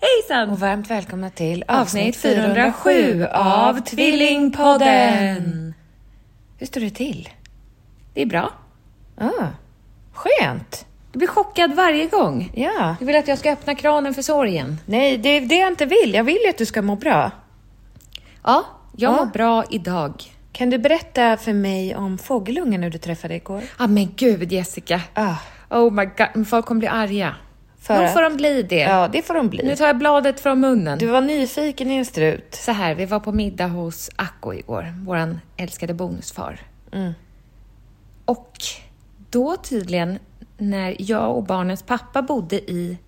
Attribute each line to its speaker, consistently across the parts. Speaker 1: Hejsan!
Speaker 2: Och varmt välkomna till
Speaker 1: Avsnitt
Speaker 2: avsnitt
Speaker 1: 407
Speaker 2: 407
Speaker 1: av
Speaker 2: av
Speaker 1: Tvillingpodden.
Speaker 2: Tvillingpodden. Hur står det till?
Speaker 1: Det är bra.
Speaker 2: Ah, skönt!
Speaker 1: Du blir chockad varje gång.
Speaker 2: Ja.
Speaker 1: Du vill att jag ska öppna kranen för sorgen.
Speaker 2: Nej, det är det jag inte vill. Jag vill ju att du ska må bra.
Speaker 1: Ja, jag
Speaker 2: Ja.
Speaker 1: mår bra idag.
Speaker 2: Kan du berätta för mig om fågelungen när du träffade igår?
Speaker 1: Ja, Ah, men gud Jessica.
Speaker 2: Ah.
Speaker 1: Oh my god, men folk kommer bli arga.
Speaker 2: För
Speaker 1: Nog
Speaker 2: att-
Speaker 1: får de bli det.
Speaker 2: Ja, det får de
Speaker 1: Nu
Speaker 2: bli.
Speaker 1: tar jag bladet från munnen.
Speaker 2: Du var nyfiken i en strut.
Speaker 1: Så här, vi var på middag hos Akko igår, våran älskade bonusfar.
Speaker 2: Mm.
Speaker 1: Och då tydligen, när jag och barnens pappa bodde i...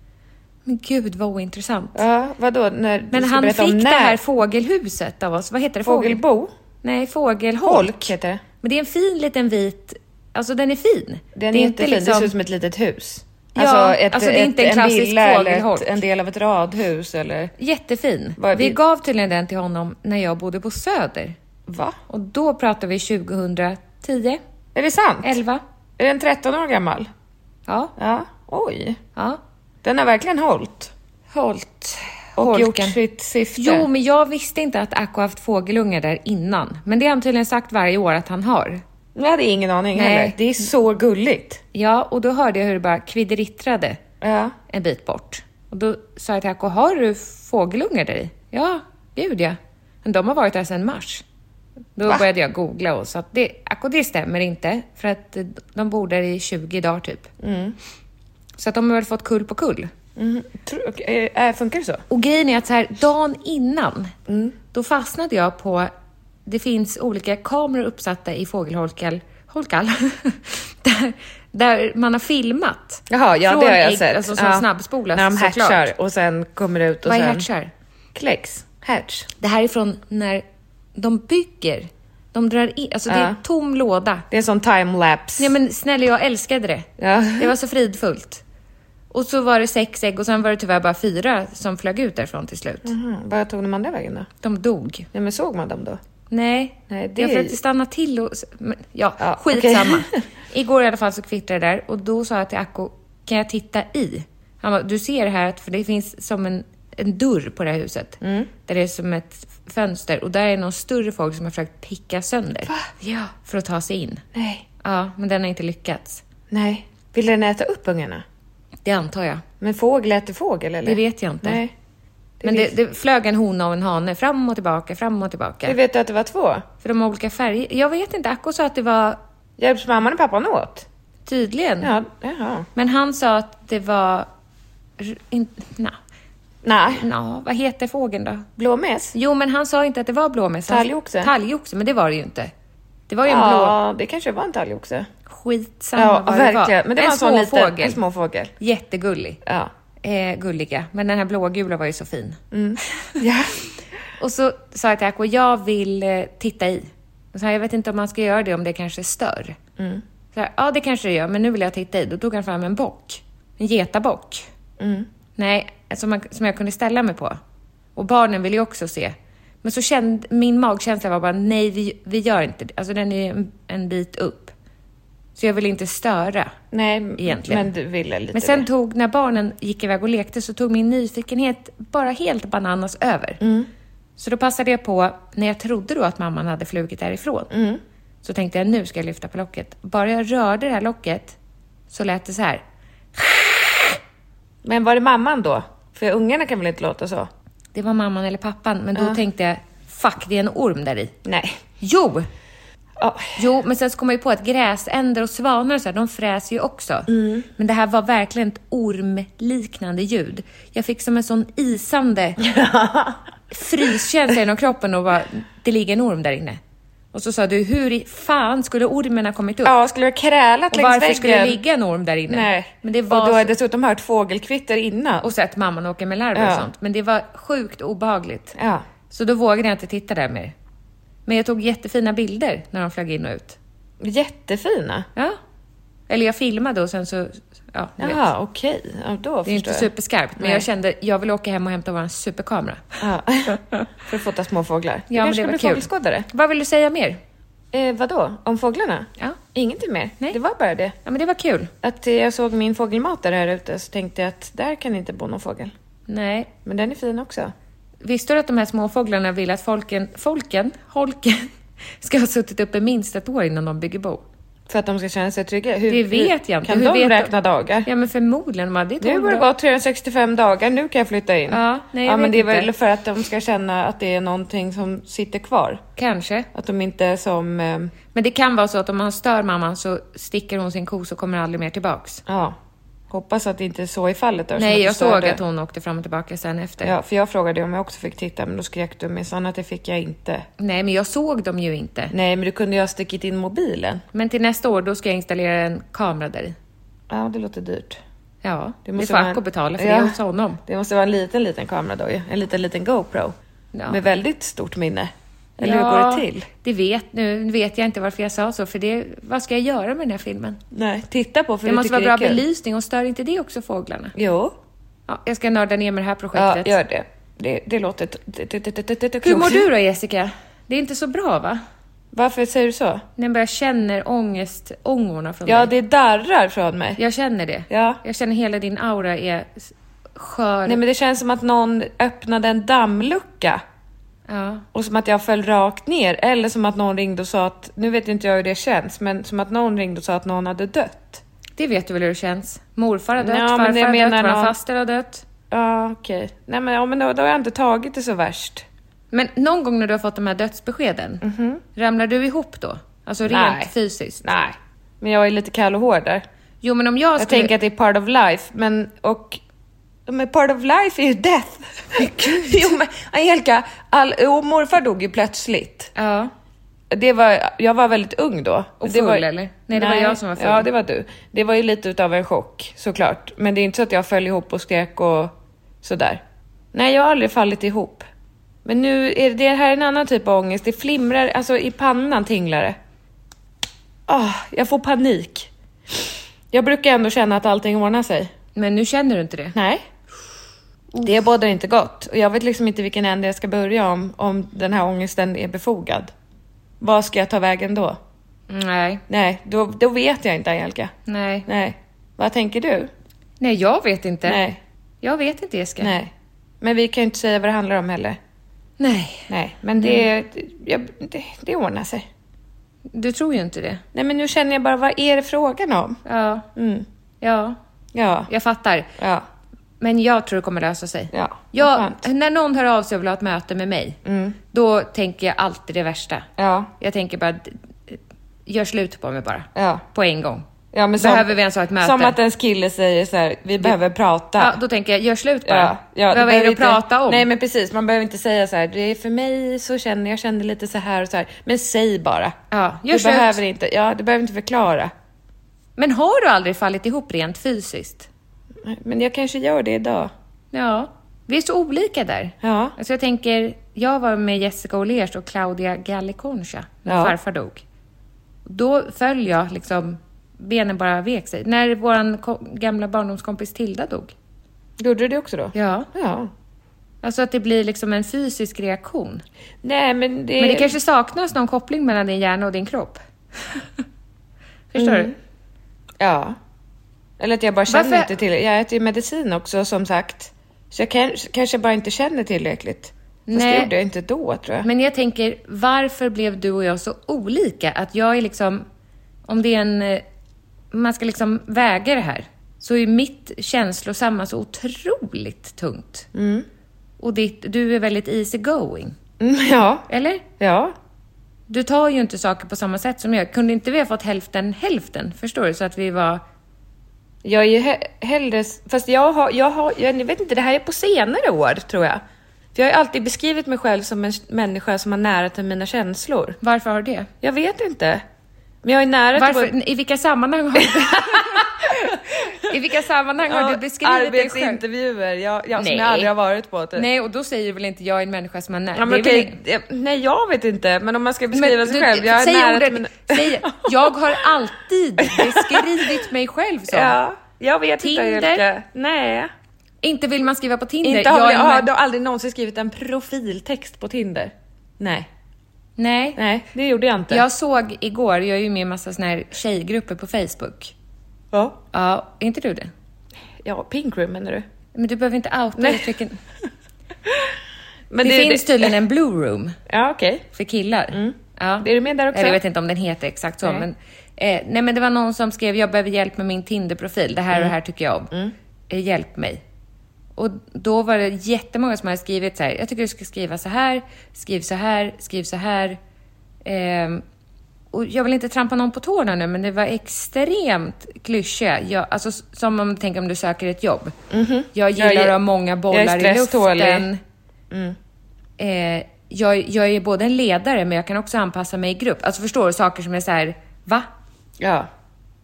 Speaker 1: Men gud vad ointressant.
Speaker 2: Ja, vadå? När du
Speaker 1: Men
Speaker 2: ska
Speaker 1: han
Speaker 2: berätta om
Speaker 1: fick det
Speaker 2: när-
Speaker 1: här fågelhuset av oss. Vad heter det? Fågel-
Speaker 2: Fågelbo?
Speaker 1: Nej, fågelholk.
Speaker 2: Folk heter det.
Speaker 1: Men det är en fin liten vit... Alltså den är fin.
Speaker 2: Den
Speaker 1: Det
Speaker 2: är
Speaker 1: är
Speaker 2: jättefin.
Speaker 1: liksom-
Speaker 2: Det ser ut som ett litet hus.
Speaker 1: Ja, alltså det är inte en klassisk
Speaker 2: villa eller
Speaker 1: fågelholk.
Speaker 2: ett, en del av ett radhus eller...
Speaker 1: Jättefin.
Speaker 2: Vad är
Speaker 1: vi
Speaker 2: det?
Speaker 1: gav tydligen den till honom när jag bodde på Söder.
Speaker 2: Va?
Speaker 1: Och då pratar vi 2010,
Speaker 2: Är det sant?
Speaker 1: 11.
Speaker 2: Är den 13 år gammal?
Speaker 1: Ja,
Speaker 2: Ja. Oj.
Speaker 1: ja.
Speaker 2: Den har verkligen hållit.
Speaker 1: Holt.
Speaker 2: Och
Speaker 1: Holken.
Speaker 2: gjort sitt syfte.
Speaker 1: Jo, men jag visste inte att Akko haft fågelungar där innan. Men det har han tydligen sagt varje år att han har.
Speaker 2: Jag hade ingen aning
Speaker 1: Nej.
Speaker 2: heller. Det är så gulligt.
Speaker 1: Ja, och då hörde jag hur det bara kvidrittrade
Speaker 2: Ja.
Speaker 1: en bit bort. Och då sa jag till Akko, har du fågelungar där i? Ja, gud ja. Men de har varit där sedan mars. Då började jag googla och sa att det, Akko, det stämmer inte. För att eh, de bor där i 20 dagar typ. Så att de har väl fått kull på kull.
Speaker 2: Mm. Tror- och, eh, eh, funkar det så?
Speaker 1: Och grejen är att så här, dagen innan,
Speaker 2: Mm.
Speaker 1: då fastnade jag på... Det finns olika kameror uppsatta i fågelholkar holkar, där, där man har filmat.
Speaker 2: Jaha, ja
Speaker 1: Från
Speaker 2: det har jag
Speaker 1: ägg,
Speaker 2: sett.
Speaker 1: Alltså som
Speaker 2: ja.
Speaker 1: snabbspolas
Speaker 2: När de
Speaker 1: såklart.
Speaker 2: hatchar och sen kommer det ut och
Speaker 1: Vad är
Speaker 2: sen...
Speaker 1: hatchar?
Speaker 2: Kläcks. Hatch.
Speaker 1: Det här är från när de bygger. De drar in, alltså det är
Speaker 2: Ja.
Speaker 1: en tom låda.
Speaker 2: Det är en sån timelapse.
Speaker 1: Nej men snälla, jag älskade det.
Speaker 2: Ja.
Speaker 1: Det var så fridfullt. Och så var det sex ägg och sen var det tyvärr bara fyra som flög ut därifrån till slut.
Speaker 2: Mm. Vad tog de andra vägen då?
Speaker 1: De dog.
Speaker 2: Nej men såg man dem då?
Speaker 1: Nej,
Speaker 2: Nej, det
Speaker 1: jag
Speaker 2: är-
Speaker 1: försökte stanna till och... Men, ja,
Speaker 2: Ja,
Speaker 1: skitsamma.
Speaker 2: okej.
Speaker 1: Igår i alla fall så kvittrade det där och då sa jag till Akko, kan jag titta i? Han bara, du ser här att, för det finns som en, en dörr på det här huset.
Speaker 2: Mm.
Speaker 1: Där det är som ett fönster och där är någon större fågel som har försökt picka sönder.
Speaker 2: Ja.
Speaker 1: För att ta sig in.
Speaker 2: Nej.
Speaker 1: Ja, men den har inte lyckats.
Speaker 2: Nej. Vill den äta upp ungarna?
Speaker 1: Det antar jag.
Speaker 2: Men fågel äter fågel eller?
Speaker 1: Det vet jag inte.
Speaker 2: Nej.
Speaker 1: men
Speaker 2: vet-
Speaker 1: det, det flög en hona och en hane fram och tillbaka, fram och
Speaker 2: Det
Speaker 1: tillbaka.
Speaker 2: vet du att det var två?
Speaker 1: För de har olika färger. Jag vet inte, Akko sa att det var
Speaker 2: Hjälps mamman och pappan åt?
Speaker 1: tydligen.
Speaker 2: Ja, jaha.
Speaker 1: Men han sa att det var... r- In, na,
Speaker 2: Nej.
Speaker 1: na, vad heter fågeln då?
Speaker 2: Blåmes?
Speaker 1: Jo, men han sa inte att det var blåmes. Han-
Speaker 2: Talgoxe.
Speaker 1: Talgoxe, men det var det ju inte. Det var ju en blå...
Speaker 2: Ja, det kanske var en talgoxe.
Speaker 1: Skitsamma
Speaker 2: Ja,
Speaker 1: vad det var.
Speaker 2: verkligen. Men det
Speaker 1: en
Speaker 2: var en sån liten,
Speaker 1: småfågel.
Speaker 2: en småfågel.
Speaker 1: Jättegullig.
Speaker 2: Ja.
Speaker 1: Eh, gulliga. Men den här blågula var ju så fin.
Speaker 2: ja.
Speaker 1: Och så sa jag till Akko, jag vill eh, titta i. Och så här, jag vet inte om man ska göra det om det kanske stör. Så här, ja, det kanske det gör, men nu vill jag titta i. Då tog han fram en bock. En getabock. Nej, som, man, som jag kunde ställa mig på. Och barnen ville ju också se. Men så kände, min magkänsla var bara, nej vi, vi gör inte det. Alltså den är ju en, en bit upp. Så jag vill inte störa.
Speaker 2: Nej,
Speaker 1: Egentligen.
Speaker 2: men du ville lite
Speaker 1: Men sen
Speaker 2: det.
Speaker 1: tog, när barnen gick iväg och lekte, så tog min nyfikenhet bara helt bananas över. Så då passade jag på, när jag trodde då att mamman hade flugit därifrån, så tänkte jag nu ska jag lyfta på locket. Bara jag rörde det här locket så lät det så här.
Speaker 2: Men var det mamman då? För ungarna kan väl inte låta så?
Speaker 1: Det var mamman eller pappan, men då tänkte jag, fuck det är en orm där i.
Speaker 2: Nej.
Speaker 1: Jo!
Speaker 2: Ja.
Speaker 1: Jo, men sen så kom jag ju på att gräsänder och svanar och så här, de fräser ju också.
Speaker 2: Mm.
Speaker 1: Men det här var verkligen ett ormliknande ljud. Jag fick som en sån isande fryskänsla genom kroppen och bara, det ligger en orm där inne. Och så sa du, hur i fan skulle ormen ha kommit upp?
Speaker 2: ja, skulle du ha krälat
Speaker 1: och
Speaker 2: längs
Speaker 1: varför
Speaker 2: väggen?
Speaker 1: skulle det ligga en orm där inne?
Speaker 2: Nej.
Speaker 1: Men det var
Speaker 2: Och du har
Speaker 1: så...
Speaker 2: dessutom hört fågelkvitter innan.
Speaker 1: Och sett mamman åka med larver och
Speaker 2: Ja.
Speaker 1: sånt. Men det var sjukt obehagligt.
Speaker 2: Ja.
Speaker 1: Så då vågade jag inte titta där mer. Men jag tog jättefina bilder när de flög in och ut.
Speaker 2: Jättefina.
Speaker 1: Ja. Eller jag filmade och sen så... Ja, ni vet.
Speaker 2: Jaha, Ah, okej. Ja, då
Speaker 1: Det är inte
Speaker 2: förstår jag.
Speaker 1: superskarpt, men
Speaker 2: Nej.
Speaker 1: jag kände jag vill åka hem och hämta vår superkamera.
Speaker 2: Ja. Ah. För att fota småfåglar.
Speaker 1: Ja, men det
Speaker 2: kanske
Speaker 1: var
Speaker 2: bli
Speaker 1: kul.
Speaker 2: fågelskådare.
Speaker 1: Vad vill du säga mer?
Speaker 2: Eh, vadå? Om fåglarna?
Speaker 1: Ja.
Speaker 2: Ingenting mer.
Speaker 1: Nej.
Speaker 2: Det var bara det.
Speaker 1: Ja, men det var kul.
Speaker 2: Att eh, jag såg min fågelmatare här ute så tänkte jag att där kan inte bo någon fågel.
Speaker 1: Nej.
Speaker 2: Men den är fin också.
Speaker 1: Visste du att de här småfåglarna vill att folken, folken, holken, ska ha suttit uppe minst ett år innan de bygger bo?
Speaker 2: För att de ska känna sig trygga. Hur,
Speaker 1: Det vet
Speaker 2: hur,
Speaker 1: jag inte.
Speaker 2: Kan
Speaker 1: Hur
Speaker 2: de
Speaker 1: vet
Speaker 2: räkna dagar?
Speaker 1: Ja, men förmodligen. Man, det är
Speaker 2: Nu har det gått 365 dagar, nu kan jag flytta in.
Speaker 1: Ja, nej, jag
Speaker 2: ja men
Speaker 1: vet
Speaker 2: det är väl
Speaker 1: inte.
Speaker 2: för att de ska känna att det är någonting som sitter kvar.
Speaker 1: Kanske.
Speaker 2: Att de inte är som... ehm,
Speaker 1: Men det kan vara så att om man stör mamman så sticker hon sin ko så kommer aldrig mer tillbaks.
Speaker 2: Ja. Hoppas att det inte är så i fallet. då, som
Speaker 1: Nej, jag
Speaker 2: förstörde.
Speaker 1: såg att hon åkte fram och tillbaka sen efter.
Speaker 2: Ja, för jag frågade om jag också fick titta, men då skrek du minsann att det fick jag inte.
Speaker 1: Nej, men jag såg dem ju inte.
Speaker 2: Nej, men du kunde ju ha stickit in mobilen.
Speaker 1: Men till nästa år, då ska jag installera en kamera där i.
Speaker 2: Ja, det låter dyrt.
Speaker 1: Ja, det,
Speaker 2: måste
Speaker 1: får
Speaker 2: vara en-
Speaker 1: Acko betala för
Speaker 2: Ja.
Speaker 1: det är hos honom.
Speaker 2: Det måste vara en liten, liten kamera då ju. En liten, liten GoPro.
Speaker 1: Ja.
Speaker 2: Med väldigt stort minne. Eller hur går det till?
Speaker 1: Det vet, nu vet jag inte varför jag sa så, för det, vad ska jag göra med den här filmen?
Speaker 2: Nej, titta på för
Speaker 1: det
Speaker 2: du
Speaker 1: måste
Speaker 2: tycker
Speaker 1: vara bra
Speaker 2: det är kul.
Speaker 1: belysning och stör inte det också fåglarna?
Speaker 2: Jo,
Speaker 1: Ja, jag ska nörda ner med det här
Speaker 2: ja,
Speaker 1: projektet.
Speaker 2: gör det. Det, det låter... t- t- t- t- t- t- t-
Speaker 1: Hur mår
Speaker 2: klokt.
Speaker 1: du då Jessica? Det är inte så bra va?
Speaker 2: Varför säger du så?
Speaker 1: När jag börjar känner ångest, ångorna från
Speaker 2: Ja,
Speaker 1: dig.
Speaker 2: det darrar från mig.
Speaker 1: Jag känner det.
Speaker 2: Ja.
Speaker 1: Jag känner hela din aura är s- skör.
Speaker 2: Nej, men det känns som att någon öppnade en dammlucka.
Speaker 1: ja.
Speaker 2: Och som att jag föll rakt ner. Eller som att någon ringde och sa att, nu vet inte jag hur det känns, men som att någon ringde och sa att någon hade dött.
Speaker 1: Det vet du väl hur det känns? Morfar har dött,
Speaker 2: Ja, men
Speaker 1: farfar
Speaker 2: jag
Speaker 1: har
Speaker 2: menar
Speaker 1: dött, vår
Speaker 2: någon-
Speaker 1: faster har dött.
Speaker 2: Ja, okej. Nej men, ja, men då, då har jag inte tagit det så värst.
Speaker 1: Men någon gång när du har fått de här dödsbeskeden, ramlar du ihop då? Alltså rent
Speaker 2: Mhm. Nej.
Speaker 1: fysiskt?
Speaker 2: Nej. Men jag är lite kall och hård där.
Speaker 1: Jo, men om jag
Speaker 2: Jag
Speaker 1: skulle...
Speaker 2: tänker att det är part of life, men och... Men part of life är ju death! jo men Angelica, all, och morfar dog ju plötsligt.
Speaker 1: Ja.
Speaker 2: Det var, jag var väldigt ung då.
Speaker 1: Och
Speaker 2: det var,
Speaker 1: full, eller? Nej, det var jag som var full.
Speaker 2: Ja, det var du. Det var ju lite utav en chock såklart. Men det är inte så att jag föll ihop och skrek och sådär. Nej, jag har aldrig fallit ihop. Men nu är det, det här är en annan typ av ångest. Det flimrar, alltså i pannan tinglar det. Ah, jag får panik. Jag brukar ändå känna att allting ordnar sig.
Speaker 1: Men nu känner du inte det?
Speaker 2: Nej. Det bådar inte gott. Och jag vet liksom inte vilken ände jag ska börja om, om den här ångesten är befogad. Vad ska jag ta vägen då?
Speaker 1: Nej.
Speaker 2: Nej, då, då vet jag inte Angelica.
Speaker 1: Nej.
Speaker 2: Nej. Vad tänker du?
Speaker 1: Nej, jag vet inte.
Speaker 2: Nej.
Speaker 1: Jag vet inte, Jessica.
Speaker 2: Nej. Men vi kan ju inte säga vad det handlar om heller.
Speaker 1: Nej.
Speaker 2: Nej, men det,
Speaker 1: Mm.
Speaker 2: jag, det, det ordnar sig.
Speaker 1: Du tror ju inte det.
Speaker 2: Nej, men nu känner jag bara, vad är det frågan om? Mm.
Speaker 1: Ja. Ja.
Speaker 2: Ja.
Speaker 1: Jag fattar.
Speaker 2: Ja.
Speaker 1: Men jag tror det kommer lösa sig.
Speaker 2: Ja,
Speaker 1: Jag,
Speaker 2: vad skönt. Mm.
Speaker 1: när någon hör av sig och vill ha ett möte med mig, då tänker jag alltid det värsta.
Speaker 2: Ja.
Speaker 1: Jag tänker bara, d- gör slut på mig bara.
Speaker 2: Ja.
Speaker 1: På en gång.
Speaker 2: ja men
Speaker 1: Behöver vi ens ha ett möte?
Speaker 2: Som att ens kille säger så här, vi behöver prata.
Speaker 1: Ja, då tänker jag, gör slut bara.
Speaker 2: Ja, ja,
Speaker 1: Vad är
Speaker 2: behöver
Speaker 1: det att
Speaker 2: inte-
Speaker 1: prata om?
Speaker 2: Nej men precis, man behöver inte säga så här, det är för mig så känner jag känner lite så här och så här. Men säg bara.
Speaker 1: Ja, gör
Speaker 2: du
Speaker 1: slut.
Speaker 2: behöver inte, ja du behöver inte förklara.
Speaker 1: Men har du aldrig fallit ihop rent fysiskt?
Speaker 2: Men jag kanske gör det idag.
Speaker 1: Ja. Vi är så olika där.
Speaker 2: Ja.
Speaker 1: Alltså jag tänker, jag var med Jessica Olers och Claudia Galliconcia när
Speaker 2: Ja.
Speaker 1: farfar dog. Då föll jag liksom, benen bara vek sig. När vår gamla barndomskompis Tilda dog.
Speaker 2: Gjorde du det också då?
Speaker 1: Ja.
Speaker 2: Ja.
Speaker 1: Alltså att det blir liksom en fysisk reaktion.
Speaker 2: Nej, men det...
Speaker 1: Men det kanske saknas någon koppling mellan din hjärna och din kropp. Mm. Förstår du?
Speaker 2: Ja. Eller att jag bara känner
Speaker 1: Varför-
Speaker 2: inte till Jag äter ju medicin också som sagt. Så jag kan, kanske bara inte känner tillräckligt. Fast
Speaker 1: Nej.
Speaker 2: det gjorde jag inte då tror jag.
Speaker 1: Men jag tänker, varför blev du och jag så olika? Att jag är liksom, om det är en, eh, man ska liksom väga det här, så är mitt känslosamma så otroligt tungt. Och ditt, du är väldigt easy going,
Speaker 2: Mm, ja.
Speaker 1: eller?
Speaker 2: Ja.
Speaker 1: Du tar ju inte saker på samma sätt som jag. Kunde inte vi ha fått hälften hälften? Förstår du? Så att vi var...
Speaker 2: Jag är ju he- hellre... Fast jag har, jag har... Jag vet inte, det här är på senare år tror jag. För jag har ju alltid beskrivit mig själv som en människa som har nära till mina känslor.
Speaker 1: Varför har du det?
Speaker 2: Jag vet inte. Men jag är nära till...
Speaker 1: Varför, I vilka sammanhang har du... I vilka sammanhang har du beskrivit dig själv?
Speaker 2: Arbetsintervjuer jag, jag, som
Speaker 1: Nej.
Speaker 2: jag aldrig har varit på. Typ.
Speaker 1: Nej, och då säger väl inte jag är en människa som har nära... det
Speaker 2: Ja, men
Speaker 1: är väl
Speaker 2: okej, jag- nej jag vet inte, men om man ska beskriva sig
Speaker 1: du-
Speaker 2: själv. Jag är
Speaker 1: säg
Speaker 2: nära
Speaker 1: ordet,
Speaker 2: till mina-
Speaker 1: säg, jag har alltid beskrivit mig själv som.
Speaker 2: Ja, jag vet
Speaker 1: Tinder?
Speaker 2: inte Angelica. Nej.
Speaker 1: Inte vill man skriva på Tinder.
Speaker 2: Inte har jag,
Speaker 1: är
Speaker 2: jag har
Speaker 1: med-
Speaker 2: då aldrig någonsin skrivit en profiltext på Tinder. Nej,
Speaker 1: Nej.
Speaker 2: nej det gjorde jag inte.
Speaker 1: Jag såg igår, jag är ju med i massa såna här tjejgrupper på Facebook.
Speaker 2: Ja.
Speaker 1: Ja, är inte du det?
Speaker 2: ja, pink room menar du?
Speaker 1: Men du behöver inte outa
Speaker 2: Nej.
Speaker 1: uttrycken.
Speaker 2: Men
Speaker 1: det,
Speaker 2: är-
Speaker 1: finns tydligen en blue room
Speaker 2: Ja okej.
Speaker 1: för killar. Ja.
Speaker 2: Mm. Är du med där också?
Speaker 1: Eller jag vet inte om den heter exakt så,
Speaker 2: Nej.
Speaker 1: men... Eh, nej, men det var någon som skrev, jag behöver hjälp med min Tinder-profil. Det här
Speaker 2: Mm.
Speaker 1: och det här tycker jag om. Eh, hjälp mig. Och då var det jättemånga som hade skrivit så här, jag tycker du ska skriva så här, skriv så här, skriv så här. Ehm, och jag vill inte trampa någon på tårna nu, men det var extremt klyschiga. Jag, alltså, s- som om, tänk om du söker ett jobb. Jag gillar
Speaker 2: Mhm. Jag är-
Speaker 1: att ha många
Speaker 2: jag är Mm.
Speaker 1: bollar i
Speaker 2: stresstålig.
Speaker 1: luften. Eh, jag, jag är både en ledare, men jag kan också anpassa mig i grupp. Alltså förstår du, saker som är så här, va?
Speaker 2: Ja.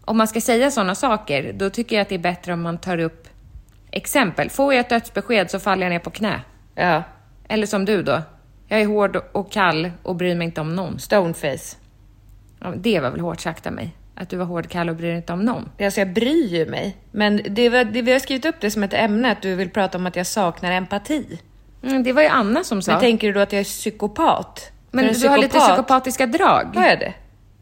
Speaker 1: Om man ska säga sådana saker, då tycker jag att det är bättre om man tar upp exempel. Får jag ett dödsbesked så faller jag ner på knä.
Speaker 2: Ja.
Speaker 1: Eller som du då. Jag är hård och kall och bryr mig inte om någon.
Speaker 2: Stoneface.
Speaker 1: Ja, Det var väl hårt sagt av mig? Att du var hård, kall och bryr dig inte om någon.
Speaker 2: Alltså jag bryr ju mig. Men det, var, det, vi har skrivit upp det som ett ämne att du vill prata om att jag saknar empati.
Speaker 1: Mm, det var ju Anna som sa.
Speaker 2: Men tänker du då att jag är psykopat?
Speaker 1: Men
Speaker 2: För
Speaker 1: du
Speaker 2: en
Speaker 1: har lite psykopatiska drag.
Speaker 2: Har jag det?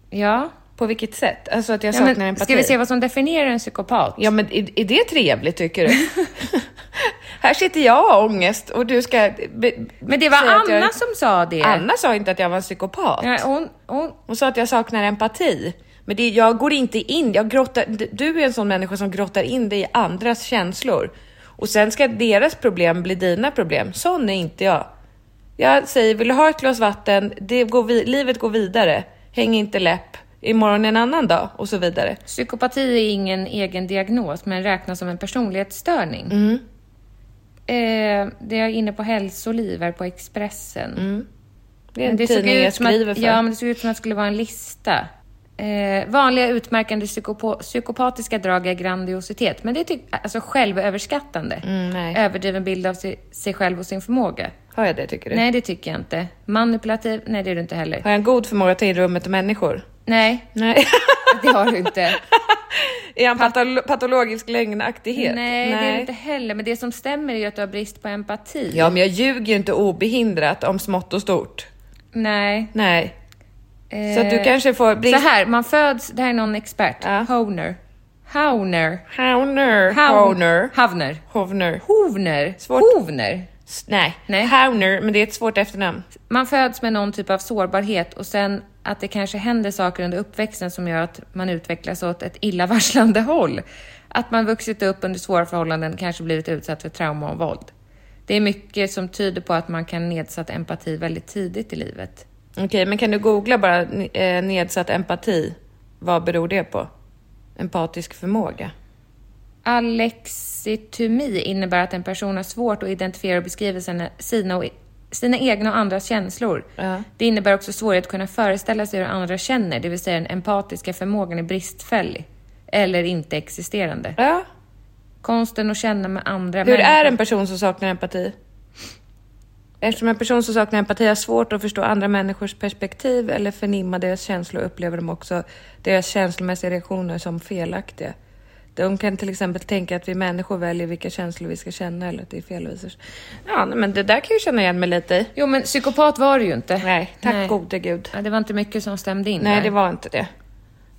Speaker 1: Ja.
Speaker 2: På vilket sätt? Alltså att jag
Speaker 1: ja
Speaker 2: saknar
Speaker 1: men,
Speaker 2: empati?
Speaker 1: ska vi se vad som definierar en psykopat?
Speaker 2: Ja men är, är det trevligt tycker du? Här sitter jag och har ångest och du ska... be-
Speaker 1: Men det var
Speaker 2: säga att
Speaker 1: Anna
Speaker 2: jag-
Speaker 1: som sa det.
Speaker 2: Anna sa inte att jag var en psykopat.
Speaker 1: Ja, hon, hon,
Speaker 2: Hon sa att jag saknar empati. Men det, jag går inte in, jag grottar, d- du är en sån människa som grottar in dig i andras känslor. Och sen ska deras problem bli dina problem. Sån är inte jag. Jag säger, vill du ha ett glas vatten? Det går vi, livet går vidare. Häng inte läpp. Imorgon är en annan dag och så vidare.
Speaker 1: Psykopati är ingen egen diagnos, men räknas som en personlighetsstörning.
Speaker 2: Mm.
Speaker 1: Eh, det jag är inne på Hälsoliv här på Expressen.
Speaker 2: Det är Mm. en
Speaker 1: Men det såg
Speaker 2: tidning
Speaker 1: ut
Speaker 2: jag
Speaker 1: som att-
Speaker 2: skriver för.
Speaker 1: Ja, men det såg ut som att det skulle vara en lista. Eh, vanliga utmärkande psykopo- psykopatiska drag är grandiositet, men det är typ, alltså självöverskattande.
Speaker 2: Mm, nej. Mm.
Speaker 1: Överdriven bild av sig, sig själv och sin förmåga.
Speaker 2: Har jag det tycker du?
Speaker 1: Nej, det tycker jag inte. Manipulativ? Nej, det är du inte heller.
Speaker 2: Har jag en god förmåga att ta in rummet och människor?
Speaker 1: Nej,
Speaker 2: Nej.
Speaker 1: det har du inte.
Speaker 2: är jag en patolo- patologisk lögnaktighet?
Speaker 1: Nej, det är det inte heller. Men det som stämmer är ju att du har brist på empati.
Speaker 2: Ja, men jag ljuger ju inte obehindrat om smått och stort.
Speaker 1: Nej.
Speaker 2: Nej.
Speaker 1: Eh,
Speaker 2: Så att du kanske får bli...
Speaker 1: Så här, man föds... Det här är någon expert.
Speaker 2: Ja.
Speaker 1: Honer. Howner.
Speaker 2: Howner.
Speaker 1: Hown-
Speaker 2: Howner.
Speaker 1: Havner.
Speaker 2: Hovner.
Speaker 1: Hovner.
Speaker 2: Svårt.
Speaker 1: Hovner.
Speaker 2: S- Nej.
Speaker 1: Nej.
Speaker 2: Howner, men det är ett svårt efternamn.
Speaker 1: Man föds med någon typ av sårbarhet och sen att det kanske händer saker under uppväxten som gör att man utvecklas åt ett illavarslande håll. Att man vuxit upp under svåra förhållanden, kanske blivit utsatt för trauma och våld. Det är mycket som tyder på att man kan ha nedsatt empati väldigt tidigt i livet.
Speaker 2: Okej, men kan du googla bara eh, nedsatt empati? Vad beror det på? Empatisk förmåga.
Speaker 1: Alexitomi innebär att en person har svårt att identifiera och beskriva sina, sina, och, sina egna och andras känslor.
Speaker 2: Ja.
Speaker 1: Det innebär också svårighet att kunna föreställa sig hur andra känner, det vill säga den empatiska förmågan är bristfällig eller inte existerande.
Speaker 2: Ja.
Speaker 1: Konsten att känna med andra
Speaker 2: Hur
Speaker 1: människor.
Speaker 2: är en person som saknar empati? Eftersom en person som saknar empati har svårt att förstå andra människors perspektiv eller förnimma deras känslor upplever de också deras känslomässiga reaktioner som felaktiga. De kan till exempel tänka att vi människor väljer vilka känslor vi ska känna eller att det är fel och vice Ja, nej, men det där kan jag känna igen mig lite i.
Speaker 1: Jo, men psykopat var du ju inte.
Speaker 2: Nej, tack
Speaker 1: Nej.
Speaker 2: gode gud.
Speaker 1: Ja, det var inte mycket som stämde in
Speaker 2: Nej,
Speaker 1: där.
Speaker 2: det var inte det.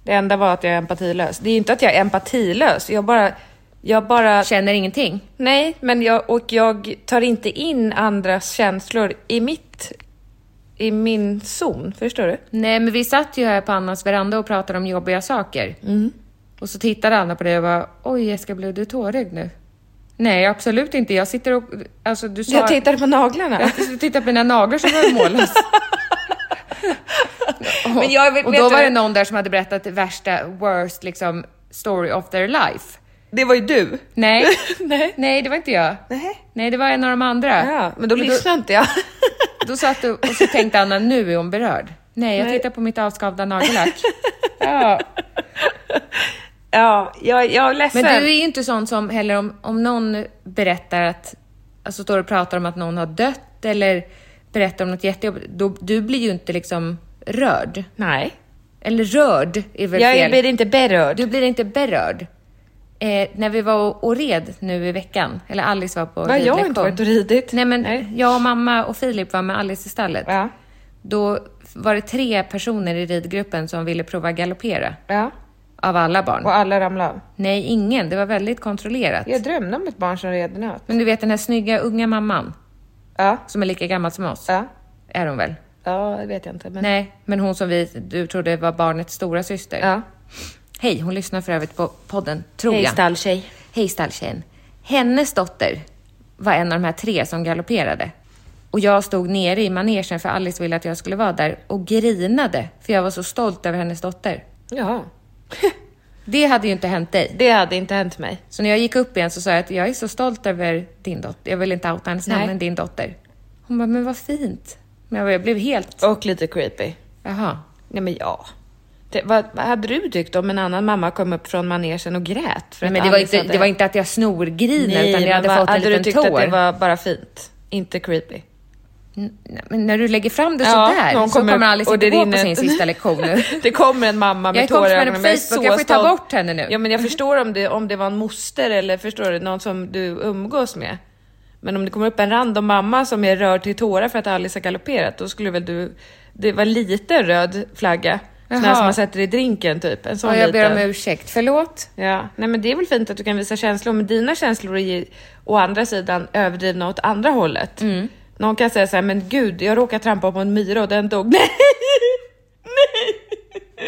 Speaker 2: Det enda var att jag är empatilös. Det är inte att jag är empatilös. Jag bara... Jag bara...
Speaker 1: Känner ingenting.
Speaker 2: Nej, men jag, och jag tar inte in andras känslor i mitt... I min zon, förstår du?
Speaker 1: Nej, men vi satt ju här på Annas veranda och pratade om jobbiga saker.
Speaker 2: Mm.
Speaker 1: Och så tittade Anna på dig och bara, oj Jessica, blev du tårögd nu? Nej, absolut inte. Jag sitter och... Alltså, du sa...
Speaker 2: Jag tittade på naglarna.
Speaker 1: Jag tittar på mina naglar som var målas.
Speaker 2: Men jag vet-
Speaker 1: och
Speaker 2: vet
Speaker 1: då
Speaker 2: du-
Speaker 1: var det någon där som hade berättat det värsta, worst liksom, story of their life.
Speaker 2: Det var ju du.
Speaker 1: Nej.
Speaker 2: Nej.
Speaker 1: Nej, det var inte jag.
Speaker 2: Nej.
Speaker 1: Nej, det var en av de andra.
Speaker 2: Ja, men då lyssnade inte jag.
Speaker 1: Då satt du och så tänkte Anna, nu är hon berörd. Nej, jag
Speaker 2: Nej.
Speaker 1: tittar på mitt avskavda nagellack. Ja.
Speaker 2: Ja, jag, jag är ledsen.
Speaker 1: Men du är ju inte sån som heller om, om någon berättar att, alltså står och pratar om att någon har dött eller berättar om något jättejobbigt, då, du blir ju inte liksom rörd.
Speaker 2: Nej.
Speaker 1: Eller rörd är väl
Speaker 2: Jag
Speaker 1: fel.
Speaker 2: blir inte berörd.
Speaker 1: Du blir inte berörd. Eh, när vi var och, och red nu i veckan, eller Alice var på
Speaker 2: Vad, jag har inte varit och ridit?
Speaker 1: Nej men
Speaker 2: Nej.
Speaker 1: jag och mamma och Filip var med Alice i stallet.
Speaker 2: Ja.
Speaker 1: Då var det tre personer i ridgruppen som ville prova galoppera.
Speaker 2: Ja.
Speaker 1: Av alla barn.
Speaker 2: Och alla ramlade av.
Speaker 1: Nej, ingen. Det var väldigt kontrollerat.
Speaker 2: Jag drömde om ett barn som red nöt.
Speaker 1: Men du vet den här snygga unga mamman
Speaker 2: Ja.
Speaker 1: som är lika gammal som oss?
Speaker 2: Ja.
Speaker 1: Är hon väl?
Speaker 2: Ja, det vet jag inte. Men...
Speaker 1: Nej, men hon som vi, du trodde var barnets stora syster.
Speaker 2: Ja.
Speaker 1: Hej, hon lyssnar för övrigt på podden, tror
Speaker 2: Hej
Speaker 1: jag.
Speaker 2: stalltjej.
Speaker 1: Hej stalltjejen. Hennes dotter var en av de här tre som galopperade. Och jag stod nere i manegen för Alice ville att jag skulle vara där och grinade för jag var så stolt över hennes dotter.
Speaker 2: Ja.
Speaker 1: Det hade ju inte hänt dig.
Speaker 2: Det hade inte hänt mig.
Speaker 1: Så när jag gick upp igen så sa jag att jag är så stolt över din dotter. Jag vill inte outa hennes namn,
Speaker 2: Nej.
Speaker 1: men din dotter. Hon bara, men vad fint. Men jag, bara, jag blev helt,
Speaker 2: Och lite creepy.
Speaker 1: jaha.
Speaker 2: Nej men ja. Det, vad, vad hade du tyckt om en annan mamma kom upp från manegen och grät? För
Speaker 1: Nej, men
Speaker 2: att
Speaker 1: det var,
Speaker 2: Alice
Speaker 1: inte, det var inte att jag snorgriner utan
Speaker 2: men
Speaker 1: jag hade
Speaker 2: vad-
Speaker 1: fått en
Speaker 2: Hade du
Speaker 1: liten
Speaker 2: tyckt att det
Speaker 1: tår.
Speaker 2: var bara fint? Inte creepy?
Speaker 1: N- Men när du lägger fram det
Speaker 2: Ja,
Speaker 1: sådär
Speaker 2: någon
Speaker 1: så
Speaker 2: kommer
Speaker 1: kommer
Speaker 2: upp
Speaker 1: Alice
Speaker 2: och
Speaker 1: inte
Speaker 2: det
Speaker 1: gå på
Speaker 2: rinner-
Speaker 1: sin sista lektion nu.
Speaker 2: Det kommer en mamma
Speaker 1: Jag
Speaker 2: med
Speaker 1: är kompis med
Speaker 2: tårar i
Speaker 1: henne på
Speaker 2: ögonen. Jag är
Speaker 1: Facebook,
Speaker 2: så
Speaker 1: jag får ju ta
Speaker 2: stolt.
Speaker 1: bort henne nu.
Speaker 2: Ja, men jag förstår om det, om det var en moster eller förstår du, någon som du umgås med. Men om det kommer upp en random mamma som är rörd till tårar för att Alice har galopperat, då skulle väl du... Det var en liten röd flagga. Sån här
Speaker 1: Jaha.
Speaker 2: som man sätter i drinken typ. En sån
Speaker 1: Ja, jag ber
Speaker 2: liten.
Speaker 1: om ursäkt. Förlåt?
Speaker 2: Ja, nej men det är väl fint att du kan visa känslor, men dina känslor är ju å andra sidan överdrivna åt andra hållet.
Speaker 1: Mm.
Speaker 2: Någon kan säga så här, men gud, jag råkade trampa på en myra och den dog. Nej! Nej!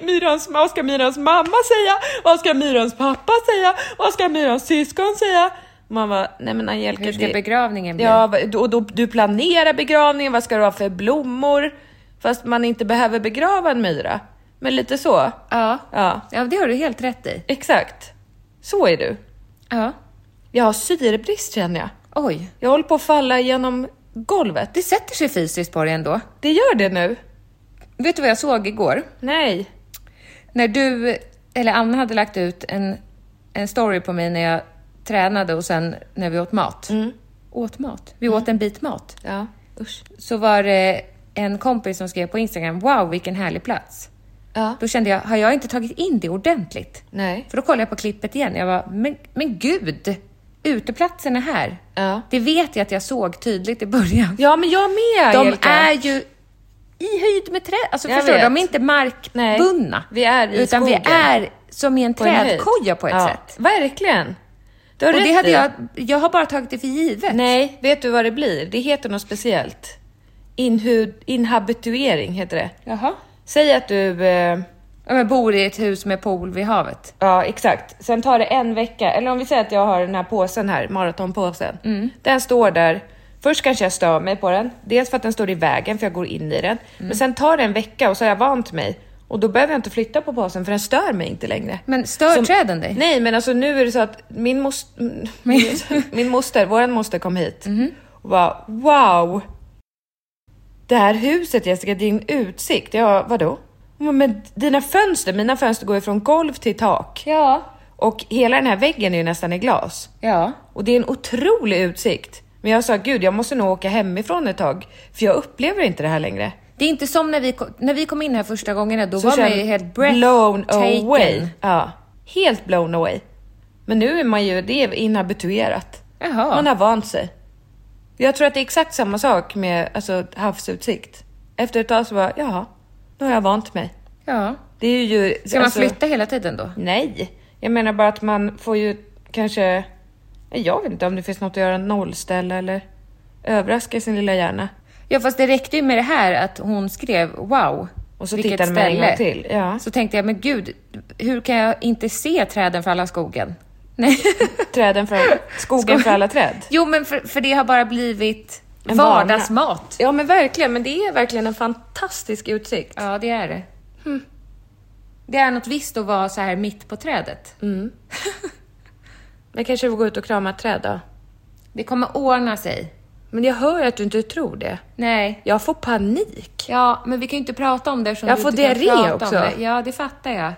Speaker 2: Myran, myrans, vad ska myrans mamma säga? Vad ska myrans pappa säga? Vad ska myrans syskon säga? Man bara, nej men Angelica,
Speaker 1: Hur ska
Speaker 2: det-
Speaker 1: begravningen bli?
Speaker 2: Ja, va- och då, du planerar begravningen, vad ska du ha för blommor? Fast man inte behöver begrava en myra. Men lite så.
Speaker 1: Ja.
Speaker 2: Ja,
Speaker 1: Ja, det har du helt rätt i.
Speaker 2: exakt. Så är du.
Speaker 1: Ja.
Speaker 2: Jag har syrebrist känner jag.
Speaker 1: Oj.
Speaker 2: Jag håller på att falla genom golvet.
Speaker 1: Det sätter sig fysiskt på dig ändå.
Speaker 2: Det gör det nu.
Speaker 1: Vet du vad jag såg igår?
Speaker 2: Nej.
Speaker 1: När du, eller Anna hade lagt ut en, en story på mig när jag tränade och sen när vi åt mat.
Speaker 2: Mm.
Speaker 1: Åt mat? Vi åt en bit mat.
Speaker 2: Ja, usch.
Speaker 1: Så var det en kompis som skrev på Instagram, wow vilken härlig plats.
Speaker 2: Ja.
Speaker 1: Då kände jag, har jag inte tagit in det ordentligt?
Speaker 2: Nej.
Speaker 1: För då kollade jag på klippet igen. Jag var men, men gud! Uteplatsen är här.
Speaker 2: Ja.
Speaker 1: Det vet jag att jag såg tydligt i början.
Speaker 2: Ja, men jag med
Speaker 1: De
Speaker 2: Angelica.
Speaker 1: är ju i höjd med träd. Alltså
Speaker 2: Jag
Speaker 1: förstår du?
Speaker 2: vet.
Speaker 1: De är inte markbundna.
Speaker 2: Nej, vi är i
Speaker 1: Utan vi
Speaker 2: skogen.
Speaker 1: är som i en
Speaker 2: På en höjd.
Speaker 1: trädkoja på ett
Speaker 2: Ja,
Speaker 1: sätt.
Speaker 2: Verkligen. Du har
Speaker 1: Och
Speaker 2: rätt
Speaker 1: det hade
Speaker 2: i.
Speaker 1: jag, jag har bara tagit det för givet.
Speaker 2: Nej, vet du vad det blir? Det heter något speciellt. Inhu- inhabituering heter det.
Speaker 1: Jaha.
Speaker 2: Säg att du... Eh,
Speaker 1: Ja, men bor i ett hus med pool vid havet.
Speaker 2: ja, exakt. Sen tar det en vecka. Eller om vi säger att jag har den här påsen här, maratonpåsen. Den står där. Först kanske jag stör mig på den. Dels för att den står i vägen, för jag går in i den. Men sen tar det en vecka och så har jag vant mig. Och då behöver jag inte flytta på påsen, för den stör mig inte längre.
Speaker 1: Men stör
Speaker 2: Som-
Speaker 1: träden dig?
Speaker 2: Nej, men alltså nu är det så att min, mos- min, min moster, våran moster kom hit och bara wow. Det här huset Jessica, din utsikt. Jag vadå? Hon bara, Men dina fönster, mina fönster går ju från golv till tak.
Speaker 1: Ja.
Speaker 2: Och hela den här väggen är ju nästan i glas.
Speaker 1: Ja.
Speaker 2: Och det är en otrolig utsikt. Men jag sa gud, jag måste nog åka hemifrån ett tag för jag upplever inte det här längre.
Speaker 1: Det är inte som när vi, ko- när vi kom in här första gången, då
Speaker 2: Så
Speaker 1: var man
Speaker 2: känner-
Speaker 1: ju helt
Speaker 2: blown
Speaker 1: breathtaken.
Speaker 2: away. Ja, helt blown away. Men nu är man ju, det är inhabituerat.
Speaker 1: Jaha.
Speaker 2: Man har vant sig. Jag tror att det är exakt samma sak med alltså, havsutsikt. Efter ett tag så bara, jaha, nu har jag vant mig.
Speaker 1: Ja.
Speaker 2: Det är ju...
Speaker 1: Ska
Speaker 2: alltså-
Speaker 1: man flytta hela tiden då?
Speaker 2: Nej, jag menar bara att man får ju kanske... Jag vet inte om det finns något att göra, nollställa eller överraska sin lilla hjärna.
Speaker 1: Ja, fast det räckte ju med det här att hon skrev wow.
Speaker 2: Och så
Speaker 1: vilket
Speaker 2: tittade man en gång
Speaker 1: ställe."
Speaker 2: till, ja.
Speaker 1: Så tänkte jag, men gud, hur kan jag inte se träden för alla skogen? Nej.
Speaker 2: Träden för, skogen för alla träd.
Speaker 1: Jo, men för, för det har bara blivit
Speaker 2: En vana.
Speaker 1: vardagsmat.
Speaker 2: Ja men verkligen, men det är verkligen en fantastisk utsikt.
Speaker 1: Ja, det är det. Hm. Det är något visst att vara så här mitt på trädet.
Speaker 2: Jag kanske får gå ut och krama ett träd då.
Speaker 1: Det kommer ordna sig.
Speaker 2: Men jag hör att du inte tror det.
Speaker 1: Nej.
Speaker 2: Jag får panik.
Speaker 1: Ja, men vi kan ju inte prata om det eftersom
Speaker 2: Jag
Speaker 1: du
Speaker 2: får
Speaker 1: inte kan
Speaker 2: diarré
Speaker 1: prata om
Speaker 2: också.
Speaker 1: det. Ja, det fattar jag.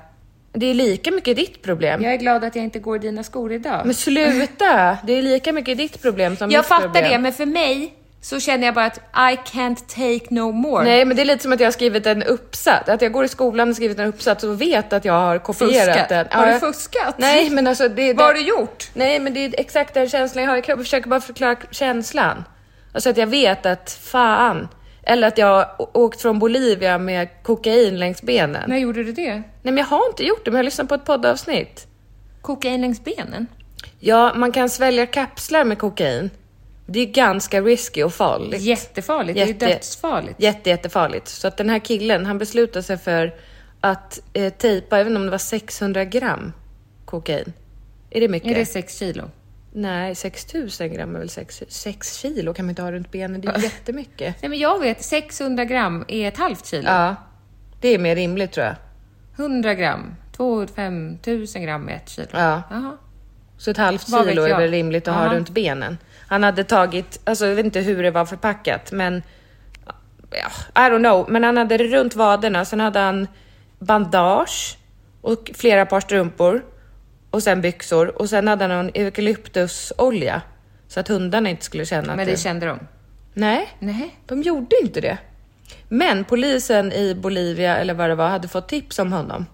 Speaker 2: Det är lika mycket ditt problem.
Speaker 1: Jag är glad att jag inte går i dina skor idag.
Speaker 2: Men sluta! Det är lika mycket ditt problem som
Speaker 1: jag
Speaker 2: mitt
Speaker 1: fattar
Speaker 2: problem.
Speaker 1: det, men för mig så känner jag bara att I can't take no more.
Speaker 2: Nej, men det är lite som att jag har skrivit en uppsats. Att jag går i skolan och skrivit en uppsats och vet att jag har kopierat
Speaker 1: Fuskat.
Speaker 2: den.
Speaker 1: Har du
Speaker 2: jag-
Speaker 1: fuskat?
Speaker 2: Nej, men alltså... Det,
Speaker 1: Vad har
Speaker 2: det-
Speaker 1: du gjort?
Speaker 2: Nej, men det är exakt den känslan jag har i kroppen. Jag försöker bara förklara känslan. Alltså att jag vet att fan. Eller att jag har å- åkt från Bolivia med kokain längs benen. Nej.
Speaker 1: När gjorde du det?
Speaker 2: men jag har inte gjort det, men jag har lyssnat på ett poddavsnitt.
Speaker 1: Kokain längs benen?
Speaker 2: Ja, man kan svälja kapslar med kokain. Det är ganska risky och farligt.
Speaker 1: Jättefarligt, det är ju dödsfarligt.
Speaker 2: Jätte, jättefarligt. Så att den här killen, han beslutade sig för att eh, tejpa, även om det var 600 gram kokain. Är det mycket?
Speaker 1: Är det sex kilo?
Speaker 2: Nej, 6000 gram är väl 6, 6 kilo kan man inte ha runt benen. Det är jättemycket.
Speaker 1: Nej men jag vet, 600 gram är ett halvt kilo.
Speaker 2: Ja, det är mer rimligt tror jag.
Speaker 1: 100 gram, 2 5 000 gram är ett kilo.
Speaker 2: Ja.
Speaker 1: Jaha.
Speaker 2: Så ett halvt
Speaker 1: Vad vet
Speaker 2: kilo är
Speaker 1: jag?
Speaker 2: väl rimligt att
Speaker 1: Aha.
Speaker 2: ha runt benen. Han hade tagit, alltså jag vet inte hur det var förpackat, men ja, I don't know. Men han hade det runt vaderna, sen hade han bandage och flera par strumpor och sen byxor och sen hade han en eukalyptusolja så att hundarna inte skulle känna
Speaker 1: Men
Speaker 2: att
Speaker 1: det kände de?
Speaker 2: Nej,
Speaker 1: Nej.
Speaker 2: de gjorde inte det. Men polisen i Bolivia eller vad det var hade fått tips om honom.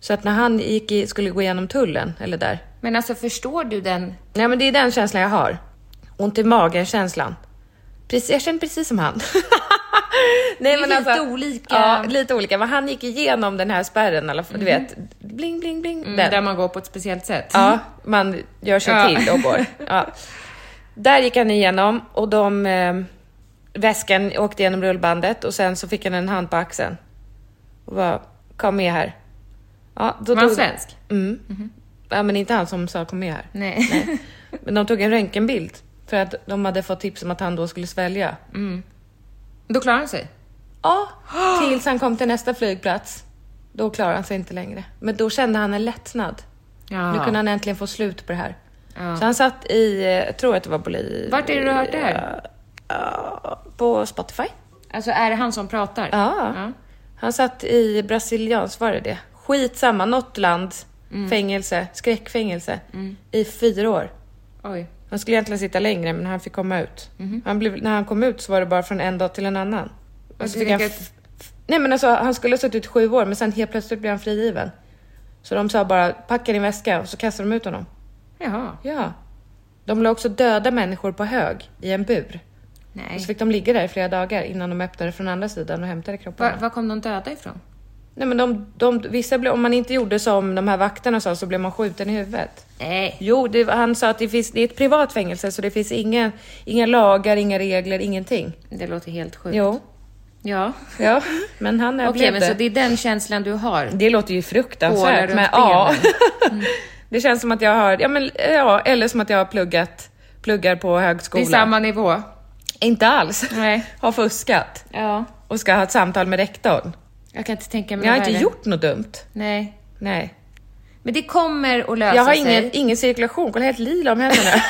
Speaker 2: Så att när han gick i, skulle gå igenom tullen eller där
Speaker 1: Men alltså förstår du den?
Speaker 2: Nej men det är den känslan jag har. Ont i magen känslan. Precis, jag känner precis som han. Nej, alltså,
Speaker 1: är lite olika. Mm.
Speaker 2: Ja, lite olika. Men han gick igenom den här spärren i alla fall. Du vet, bling bling bling. den.
Speaker 1: Där man går på ett speciellt sätt?
Speaker 2: Ja, man gör sig
Speaker 1: Ja.
Speaker 2: till och går. Ja. Där gick han igenom och de, eh, väskan åkte igenom rullbandet och sen så fick han en hand på axeln. Och bara, kom med här. Ja, då
Speaker 1: Var han
Speaker 2: tog-
Speaker 1: svensk? Mhm.
Speaker 2: Mm. Ja, men inte han som sa kom med här.
Speaker 1: Nej.
Speaker 2: Men de tog en röntgenbild för att de hade fått tips om att han då skulle svälja.
Speaker 1: Då klarar han sig?
Speaker 2: Ja, tills han kom till nästa flygplats. Då klarade han sig inte längre. Men då kände han en lättnad.
Speaker 1: Ja.
Speaker 2: Nu kunde han äntligen få slut på det här.
Speaker 1: Ja.
Speaker 2: Så han satt i, eh, jag tror att det var Bolivia.
Speaker 1: Vart är det du har hört det här?
Speaker 2: Ja, På Spotify.
Speaker 1: Alltså är det han som pratar?
Speaker 2: Ja. Han satt i brasilians, var det det? Skitsamma, något land.
Speaker 1: Mm.
Speaker 2: Fängelse, skräckfängelse. I fyra år.
Speaker 1: Oj.
Speaker 2: Han skulle egentligen sitta längre men han fick komma ut. Han blev, när han kom ut så var det bara från en dag till en annan. Och så
Speaker 1: du
Speaker 2: fick han,
Speaker 1: tänker
Speaker 2: f- f- nej men alltså, han skulle ha suttit sju år men sen helt plötsligt blev han frigiven. Så de sa bara packa din väska och så kastade de ut honom.
Speaker 1: Jaha.
Speaker 2: Ja. De la också döda människor på hög i en bur. Och
Speaker 1: Nej.
Speaker 2: så fick de ligga där i flera dagar innan de öppnade från andra sidan och hämtade kropparna.
Speaker 1: Var, var kom de döda ifrån?
Speaker 2: Nej men de, de, vissa blev, om man inte gjorde som de här vakterna sa så blev man skjuten i huvudet.
Speaker 1: Nej.
Speaker 2: Jo, det, han sa att det, finns, det är ett privat fängelse så det finns inga, inga lagar, inga regler, ingenting.
Speaker 1: Det låter helt sjukt.
Speaker 2: Jo,
Speaker 1: Ja.
Speaker 2: ja, men han
Speaker 1: Okej,
Speaker 2: överlevde.
Speaker 1: men så det är den känslan du har?
Speaker 2: det låter ju
Speaker 1: Hålar
Speaker 2: fruktansvärt,
Speaker 1: runt Mm.
Speaker 2: men ja. det känns som att jag har, ja men ja, eller som att jag har pluggat, pluggar på
Speaker 1: Det är
Speaker 2: högskolan.
Speaker 1: samma nivå?
Speaker 2: Inte alls.
Speaker 1: Nej.
Speaker 2: har fuskat
Speaker 1: Ja.
Speaker 2: och ska ha ett samtal med
Speaker 1: Mm,
Speaker 2: rektorn.
Speaker 1: Jag kan inte tänka mig
Speaker 2: Jag har inte
Speaker 1: värre.
Speaker 2: gjort något dumt.
Speaker 1: Nej.
Speaker 2: Nej.
Speaker 1: Men det kommer att lösa
Speaker 2: Jag har
Speaker 1: sig.
Speaker 2: ingen, ingen cirkulation, kolla jag är helt lila om händerna.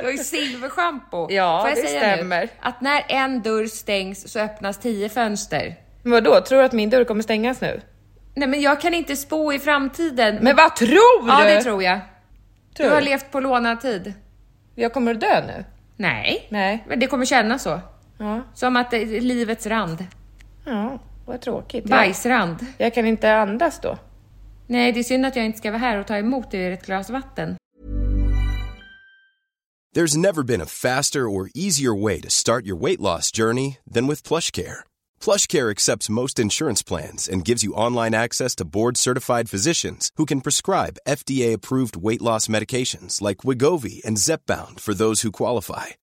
Speaker 1: Du har ju silverschampo.
Speaker 2: Ja,
Speaker 1: Får jag
Speaker 2: det
Speaker 1: säga
Speaker 2: stämmer.
Speaker 1: Nu, att när en dörr stängs så öppnas tio fönster.
Speaker 2: Men Vadå, tror du att min dörr kommer stängas nu?
Speaker 1: Nej men jag kan inte spå i framtiden.
Speaker 2: Men vad tror
Speaker 1: ja,
Speaker 2: du?
Speaker 1: det tror jag.
Speaker 2: Tror
Speaker 1: Du har levt på lånad tid.
Speaker 2: Jag kommer att dö nu?
Speaker 1: Nej.
Speaker 2: Nej.
Speaker 1: Men det kommer kännas så.
Speaker 2: Ja.
Speaker 1: Som att det är livets rand.
Speaker 2: Ja, vad tråkigt. Jag,
Speaker 1: Bajsrand.
Speaker 2: jag kan inte andas då.
Speaker 1: Nej, det är synd att jag inte ska vara här och ta emot er ett glas vatten.
Speaker 3: There's never been a faster or easier way to start your weight loss journey than with PlushCare. PlushCare accepts most insurance plans and gives you online access to board-certified physicians who can prescribe FDA-approved weight loss medications like Wigovi and Zepbound for those who qualify.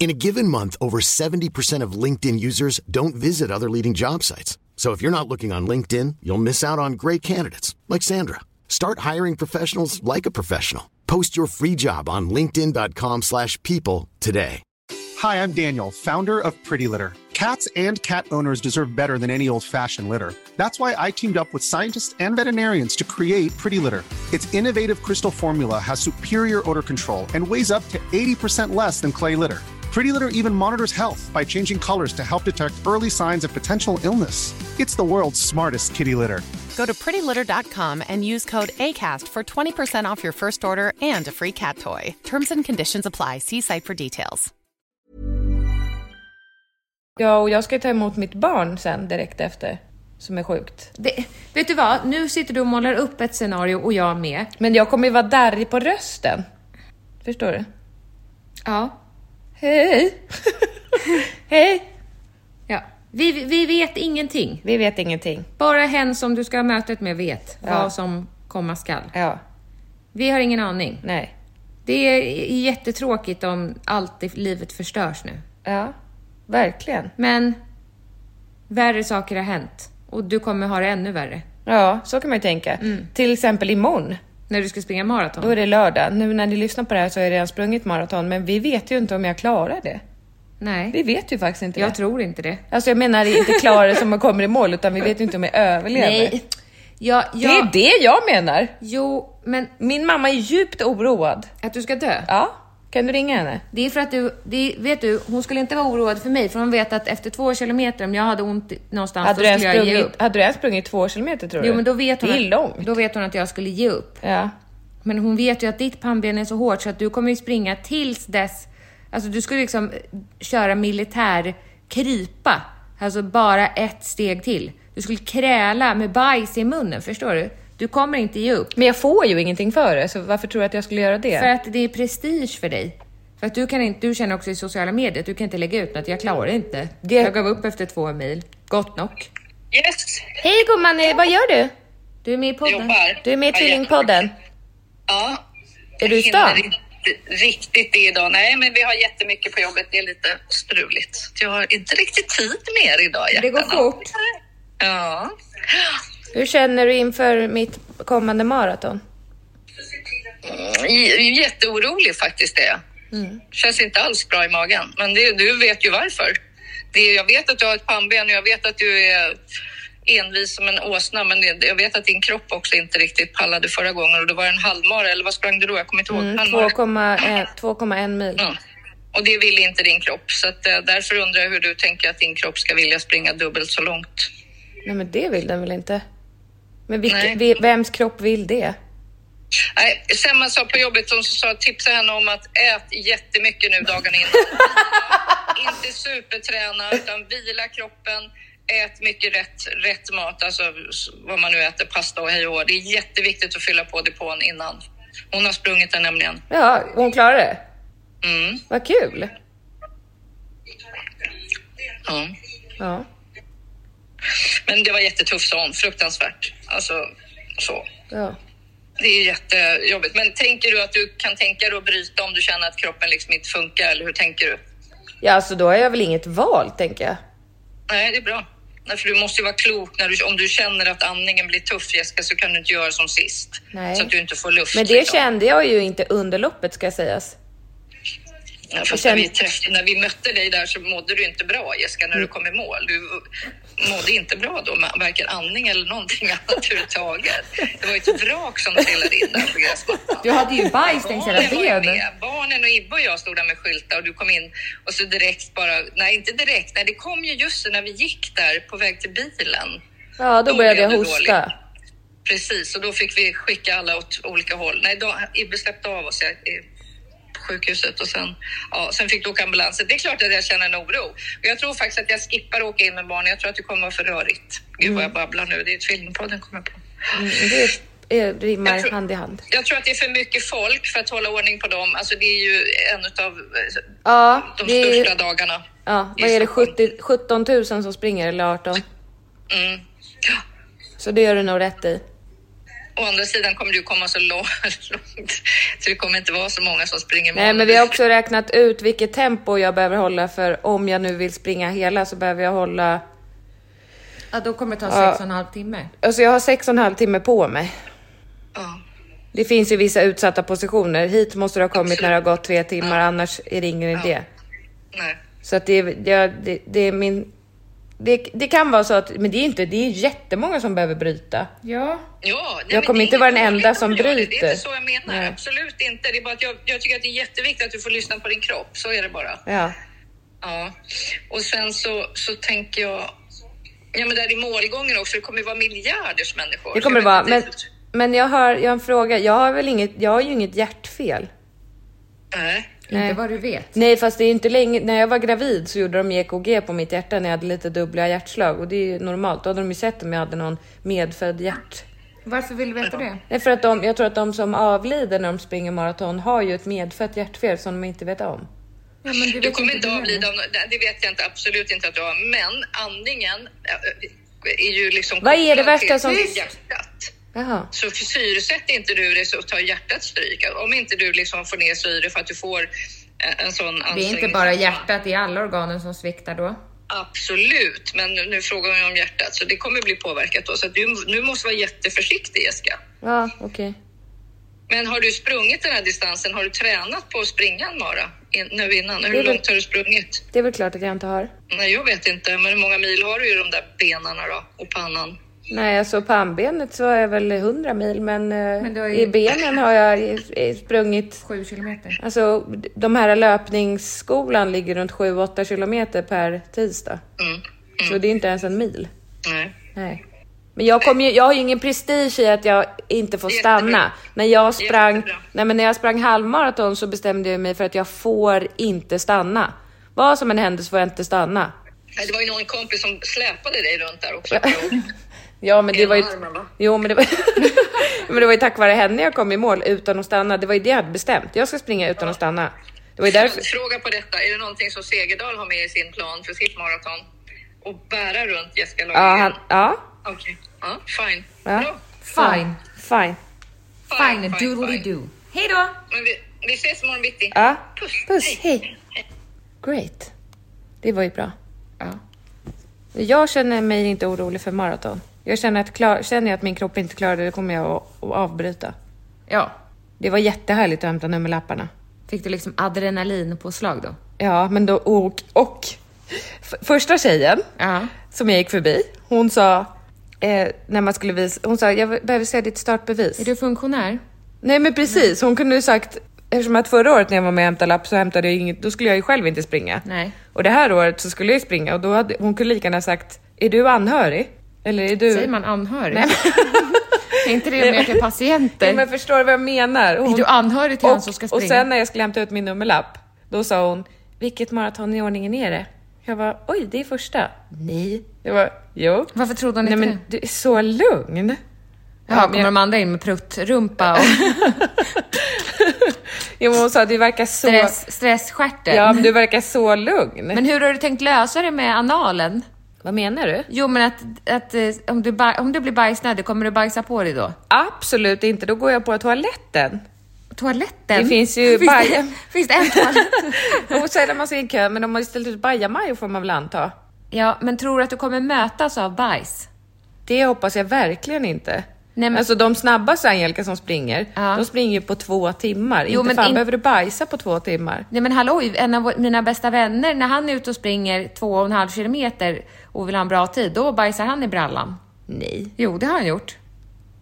Speaker 4: In a given month, over 70% of LinkedIn users don't visit other leading job sites. So if you're not looking on LinkedIn, you'll miss out on great candidates like Sandra. Start hiring professionals like a professional. Post your free job on linkedin.com/people slash people today.
Speaker 5: Hi, I'm Daniel, founder of Pretty Litter. Cats and cat owners deserve better than any old fashioned litter. That's why I teamed up with scientists and veterinarians to create Pretty Litter. Its innovative crystal formula has superior odor control and weighs up to 80% less than clay litter. Pretty Litter even monitors health by changing colors to help detect early signs of potential illness. It's the world's smartest kitty litter.
Speaker 6: Go to prettylitter.com and use code ACAST for 20% off your first order and a free cat toy. Terms and conditions apply. See site for details.
Speaker 2: Ja, och jag ska ta emot mitt barn sen direkt efter. Som är sjukt.
Speaker 1: Det, vet du vad? Nu sitter du och målar upp ett scenario och jag med.
Speaker 2: Men jag kommer ju vara darrig på rösten. Förstår du?
Speaker 1: Ja.
Speaker 2: Hej! Hej!
Speaker 1: ja. Vi, vi vet ingenting.
Speaker 2: Vi vet ingenting.
Speaker 1: Bara hen som du ska ha mötet med vet vad som komma skall.
Speaker 2: Ja,
Speaker 1: Vi har ingen aning.
Speaker 2: nej.
Speaker 1: Det är jättetråkigt om allt i livet förstörs nu.
Speaker 2: Ja, verkligen.
Speaker 1: Men värre saker har hänt och du kommer ha det ännu värre
Speaker 2: Ja, så kan man ju tänka.
Speaker 1: Mm.
Speaker 2: Till exempel imorgon,
Speaker 1: när du ska springa maraton.
Speaker 2: då är det lördag. Nu när ni lyssnar på det här så har jag redan sprungit maraton, men vi vet ju inte om jag klarar det. Vi
Speaker 1: Nej,
Speaker 2: vet ju faktiskt inte
Speaker 1: jag
Speaker 2: det.
Speaker 1: tror inte det.
Speaker 2: Alltså jag menar inte klarar det som man kommer i mål, utan vi vet ju inte om jag överlever.
Speaker 1: Nej. Ja, ja,
Speaker 2: Det är det jag menar!
Speaker 1: Jo, men
Speaker 2: Min mamma är djupt oroad.
Speaker 1: att du ska dö?
Speaker 2: Ja, kan du ringa henne?
Speaker 1: Det är för att du, det är, vet du, hon skulle inte vara oroad för mig för hon vet att efter två kilometer, om jag hade ont i- någonstans,
Speaker 2: Hade
Speaker 1: då
Speaker 2: du, ens
Speaker 1: skulle jag ge upp.
Speaker 2: sprungit, hade du ens sprungit två kilometer tror du?
Speaker 1: Jo, men då vet hon,
Speaker 2: det är
Speaker 1: att-
Speaker 2: långt.
Speaker 1: då vet hon att jag skulle ge upp.
Speaker 2: Ja.
Speaker 1: Men hon vet ju att ditt pannben är så hårt så att du kommer ju springa tills dess... Alltså du skulle liksom eh, köra militär krypa. Alltså bara ett steg till. Du skulle kräla med bajs i munnen, förstår du? Du kommer inte ge upp.
Speaker 2: Men jag får ju ingenting för det, så varför tror du att jag skulle göra det?
Speaker 1: För att det är prestige för dig. För att du, kan inte, du känner också i sociala medier att du kan inte lägga ut något. Jag klarar inte.
Speaker 2: Det-
Speaker 1: Jag gav upp efter två mil. Gott nog.
Speaker 7: Yes,
Speaker 2: Hej gumman, eh, vad gör du?
Speaker 1: Du är med i podden.
Speaker 7: jobbar.
Speaker 2: Du är med i Tvillingpodden.
Speaker 7: Ja.
Speaker 2: Är du i
Speaker 7: Hinner
Speaker 2: stan?
Speaker 7: inte Riktigt det idag. Nej, men vi har jättemycket på jobbet. Det är lite struligt. Jag har inte riktigt tid mer idag.
Speaker 1: Det går
Speaker 7: hjärtan.
Speaker 1: fort.
Speaker 7: Ja.
Speaker 2: Hur känner du inför mitt kommande maraton?
Speaker 7: Mm, j- Jätteorolig faktiskt det. Mm. Känns inte alls bra i magen. Men det, du vet ju varför. Det, jag vet att du har ett pannben och jag vet att du är envis som en åsna. Men det, jag vet att din kropp också inte riktigt pallade förra gången. Och det var en halvmara, eller vad sprang du då? Jag kommer inte ihåg.
Speaker 2: Mm,
Speaker 7: Halvmara.
Speaker 2: 2,1 2,1 mil.
Speaker 7: Ja. Och det vill inte din kropp, så att, eh, därför undrar jag hur du tänker att din kropp ska vilja springa dubbelt så långt.
Speaker 2: Nej men det vill den väl inte? Men
Speaker 7: Nej.
Speaker 2: vilk, vi- vems kropp vill det?
Speaker 7: Nej, Semma sa på jobbet, hon sa tipsa henne om att ät jättemycket nu dagarna innan. inte superträna, utan vila kroppen. Ät mycket rätt, rätt mat, alltså s- vad man nu äter, pasta och hej och hå. Det är jätteviktigt att fylla på depån innan. Hon har sprungit den nämligen.
Speaker 2: Ja, hon klarar det.
Speaker 7: Mm,
Speaker 2: Vad kul!
Speaker 7: ja.
Speaker 2: Ja.
Speaker 7: Men det var jättetufft sa hon, fruktansvärt. Alltså, så.
Speaker 2: ja.
Speaker 7: Det är jättejobbigt. Men tänker du att du kan tänka dig att bryta om du känner att kroppen liksom inte funkar? Eller hur tänker du?
Speaker 2: Ja, alltså då har jag väl inget val, tänker jag.
Speaker 7: Nej, det är bra. Nej, för du måste ju vara klok. När du, om du känner att andningen blir tuff, Jessica, så kan du inte göra som sist.
Speaker 2: Nej.
Speaker 7: Så att du inte får luft.
Speaker 2: Men det
Speaker 7: liksom.
Speaker 2: kände jag ju inte under loppet, ska sägas.
Speaker 7: Ja, fast
Speaker 2: känn-
Speaker 1: Mm.
Speaker 7: när, vi träff, när vi mötte dig där så mådde du inte bra, Jessica, när du kom i mål. Du mådde inte bra då, med varken andning eller någonting annat överhuvudtaget. Det var ju ett vrak som trillade in där på gräsmattan.
Speaker 1: Du hade ju bajs längs hela
Speaker 7: Barnen var
Speaker 1: ben.
Speaker 7: ju med. Barnen och Ibbe och jag stod där med skyltar och du kom in och så direkt bara, nej inte direkt, nej det kom ju just när vi gick där på väg till bilen.
Speaker 2: Ja, då
Speaker 7: Då
Speaker 2: började jag
Speaker 7: blev du
Speaker 2: hosta.
Speaker 7: dålig. Precis, och då fick vi skicka alla åt olika håll. Nej, då, Ibbe släppte av oss jag, eh, på sjukhuset och sen, ja, sen fick du åka ambulansen. Det är klart att jag känner en oro. Och jag tror faktiskt att jag skippar att åka in med barnen. Jag tror att det kommer vara för rörigt. Gud
Speaker 2: Mm.
Speaker 7: vad jag babblar nu. Det är ett filmpodden kommer jag på.
Speaker 2: Det är-
Speaker 7: Jag
Speaker 2: rimmar
Speaker 7: tror-
Speaker 2: hand i hand.
Speaker 7: Jag tror att det är för mycket folk för att hålla ordning på dem. Alltså det är ju en av
Speaker 2: Ja,
Speaker 7: de
Speaker 2: det är-
Speaker 7: största dagarna.
Speaker 2: Ja,
Speaker 7: i
Speaker 2: vad är det?
Speaker 7: Stockholm.
Speaker 2: 70, 17 000 som springer eller 18?
Speaker 7: Mm. Ja.
Speaker 2: Så det gör du nog rätt i.
Speaker 7: Å andra sidan kommer du komma så långt så det kommer inte vara så många som springer
Speaker 2: Nej,
Speaker 7: mål.
Speaker 2: men vi har också räknat ut vilket tempo jag behöver hålla för om jag nu vill springa hela så behöver jag hålla...
Speaker 1: Ja, då kommer det ta sex och en halv timme.
Speaker 2: Alltså jag har sex och en halv timme på mig.
Speaker 7: Ja.
Speaker 2: Det finns ju vissa utsatta positioner. Hit måste du ha kommit när det har gått tre timmar, annars är det ingen idé.
Speaker 7: Nej.
Speaker 2: Så att det, är- det, det, det är min... Det, det kan vara så att, men det är inte, det är jättemånga som behöver bryta.
Speaker 1: Ja.
Speaker 7: Ja, nej,
Speaker 2: Jag
Speaker 7: men
Speaker 2: kommer
Speaker 7: det är
Speaker 2: inte vara den
Speaker 7: inget
Speaker 2: enda
Speaker 7: dåligt
Speaker 2: som
Speaker 7: att göra det. Det
Speaker 2: bryter.
Speaker 7: är inte så jag menar.
Speaker 2: Nej.
Speaker 7: Absolut inte. Det är bara att jag, jag tycker att det är jätteviktigt att du får lyssna på din kropp. Så är det bara.
Speaker 2: Ja.
Speaker 7: Ja. Och sen så, så tänker jag... Ja, men där i målgången också. Det kommer ju vara miljarders människor.
Speaker 2: Det kommer det
Speaker 7: Jag
Speaker 2: vara.
Speaker 7: vet
Speaker 2: Men,
Speaker 7: inte-
Speaker 2: men jag, har, jag har en fråga. Jag har, väl inget, jag har ju inget hjärtfel.
Speaker 7: Nej.
Speaker 1: Inte vad du vet.
Speaker 2: Nej, fast det är inte länge. När jag var gravid så gjorde de EKG på mitt hjärta när jag hade lite dubbla hjärtslag och det är ju normalt. Då hade de ju sett om jag hade någon medfödd hjärt...
Speaker 1: Varför vill du veta det?
Speaker 2: Nej, för att de, jag tror att de som avlider när de springer maraton har ju ett medfött hjärtfel som de inte vet om.
Speaker 1: Ja, men
Speaker 7: Du kommer inte avlida av nå- nej, Det vet jag inte, absolut inte att du har. Men andningen äh, är ju liksom...
Speaker 2: Vad är det
Speaker 7: kopplad
Speaker 2: värsta
Speaker 7: till-
Speaker 2: som-
Speaker 7: till hjärtat.
Speaker 2: Jaha.
Speaker 7: Så för syresätter inte du det så tar hjärtat stryk. Om inte du liksom får ner syre för att du får eh, en sån
Speaker 1: Det är
Speaker 7: ansträngning.
Speaker 1: inte bara hjärtat, det är alla organen som sviktar då.
Speaker 7: Absolut, men nu, nu frågar jag om hjärtat så det kommer bli påverkat då. Så att du, nu måste vara jätteförsiktig Jessica.
Speaker 2: Ja, okej.
Speaker 7: Men har du sprungit den här distansen? Har du tränat på att springa en mara in, nu innan?
Speaker 2: Det är
Speaker 7: Hur
Speaker 2: väl-
Speaker 7: långt har du sprungit?
Speaker 2: Det är väl klart att jag inte har.
Speaker 7: Nej, jag vet inte. Men hur många mil har du i de där benen då? Och pannan?
Speaker 2: Nej, alltså pannbenet så är jag väl 100 mil, men, men
Speaker 1: Men du har ju-
Speaker 2: i benen har jag i- i- sprungit
Speaker 1: Sju kilometer.
Speaker 2: Alltså de här löpningsskolan ligger runt 7-8 kilometer per tisdag. Så
Speaker 1: Mm.
Speaker 2: det är inte ens en mil.
Speaker 7: Mm, Nej.
Speaker 2: Nej. Men jag, kom ju, jag har ju ingen prestige i att jag inte får
Speaker 7: Jättebra.
Speaker 2: stanna. När jag, sprang,
Speaker 7: Jättebra.
Speaker 2: nej men när jag sprang halvmaraton så bestämde jag mig för att jag får inte stanna. Vad som än händer så får jag inte stanna.
Speaker 7: Nej, Det var ju någon kompis som släpade dig runt där också.
Speaker 2: Ja men det
Speaker 7: Ena
Speaker 2: var ju...
Speaker 7: armen, va?
Speaker 2: Jo men det var, men det var ju tack vare henne jag kom i mål utan att stanna. Det var ju det jag hade bestämt. Jag ska springa utan att stanna. Det var ju därför...
Speaker 7: Fråga på detta. Är det någonting som Segerdal har med i sin plan för sitt maraton? Och bära runt Jessica
Speaker 2: Ja,
Speaker 7: Lagergren?
Speaker 2: han, ja,
Speaker 7: Okej. Ja, fine.
Speaker 2: Ja.
Speaker 7: Bra.
Speaker 1: Fine,
Speaker 2: fine.
Speaker 1: fine, doodly do. Hej då!
Speaker 7: Men vi, vi ses imorgon bitti.
Speaker 2: Ja.
Speaker 7: Puss.
Speaker 2: Puss, hej. Great. Det var ju bra. Jag känner mig inte orolig för maraton. Jag känner att, klar, känner jag att min kropp inte klarar det, då kommer jag att, att avbryta.
Speaker 1: Ja,
Speaker 2: Det var jättehärligt att hämta nummerlapparna.
Speaker 1: fick du liksom adrenalinpåslag då?
Speaker 2: Ja, men då och... och f- första tjejen
Speaker 1: Ja.
Speaker 2: som jag gick förbi, hon sa eh, när man skulle visa, hon sa jag behöver se ditt startbevis.
Speaker 1: Är du funktionär?
Speaker 2: Nej men precis, hon kunde ju sagt Eftersom att förra året när jag var med och hämtade lapp så hämtade jag inget, då skulle jag ju själv inte springa.
Speaker 1: Nej.
Speaker 2: Och det här året så skulle jag ju springa och då hade, hon kunde lika gärna sagt, är du anhörig? Eller är du...
Speaker 1: Säger man anhörig?
Speaker 2: Nej,
Speaker 1: Är inte det mer till patienter?
Speaker 2: Nej, men förstår du vad jag menar? Hon-
Speaker 1: Är du anhörig till han som ska
Speaker 2: Och
Speaker 1: springa?
Speaker 2: sen när jag skulle hämta ut min nummerlapp, då sa hon, vilket maraton i ordningen är det? Jag var oj det är första. Nej. Jag var jo.
Speaker 1: Varför trodde hon
Speaker 2: Nej
Speaker 1: inte
Speaker 2: men du är så lugn.
Speaker 1: Jaha, kommer de andra in med pruttrumpa och
Speaker 2: Jo, men hon sa, du verkar så...
Speaker 1: stress, stressstjärten?
Speaker 2: Ja, men du verkar så lugn.
Speaker 1: Men hur har du tänkt lösa det med analen?
Speaker 2: Vad menar du?
Speaker 1: Jo, men att, att eh, om, du baj, om du blir bajsnödig, kommer du bajsa på dig då?
Speaker 2: Absolut inte, då går jag på toaletten.
Speaker 1: Toaletten?
Speaker 2: Det finns ju
Speaker 1: finns
Speaker 2: bajen.
Speaker 1: Det, finns det en toalett?
Speaker 2: och så är man sig i en kö, men de har ju ställt ut bajamajor får man väl anta.
Speaker 1: ja, men tror du att du kommer mötas av bajs?
Speaker 2: Det hoppas jag verkligen inte.
Speaker 1: Nej, men-
Speaker 2: Alltså de snabbaste Angelica som springer,
Speaker 1: Ja.
Speaker 2: de springer ju på två timmar.
Speaker 1: Jo,
Speaker 2: inte
Speaker 1: men
Speaker 2: fan
Speaker 1: in-
Speaker 2: behöver du bajsa på två timmar.
Speaker 1: Nej men hallå, en av vår- mina bästa vänner, när han är ute och springer två och en halv kilometer och vill ha en bra tid, då bajsar han i brallan.
Speaker 2: Nej.
Speaker 1: Jo, det har han gjort.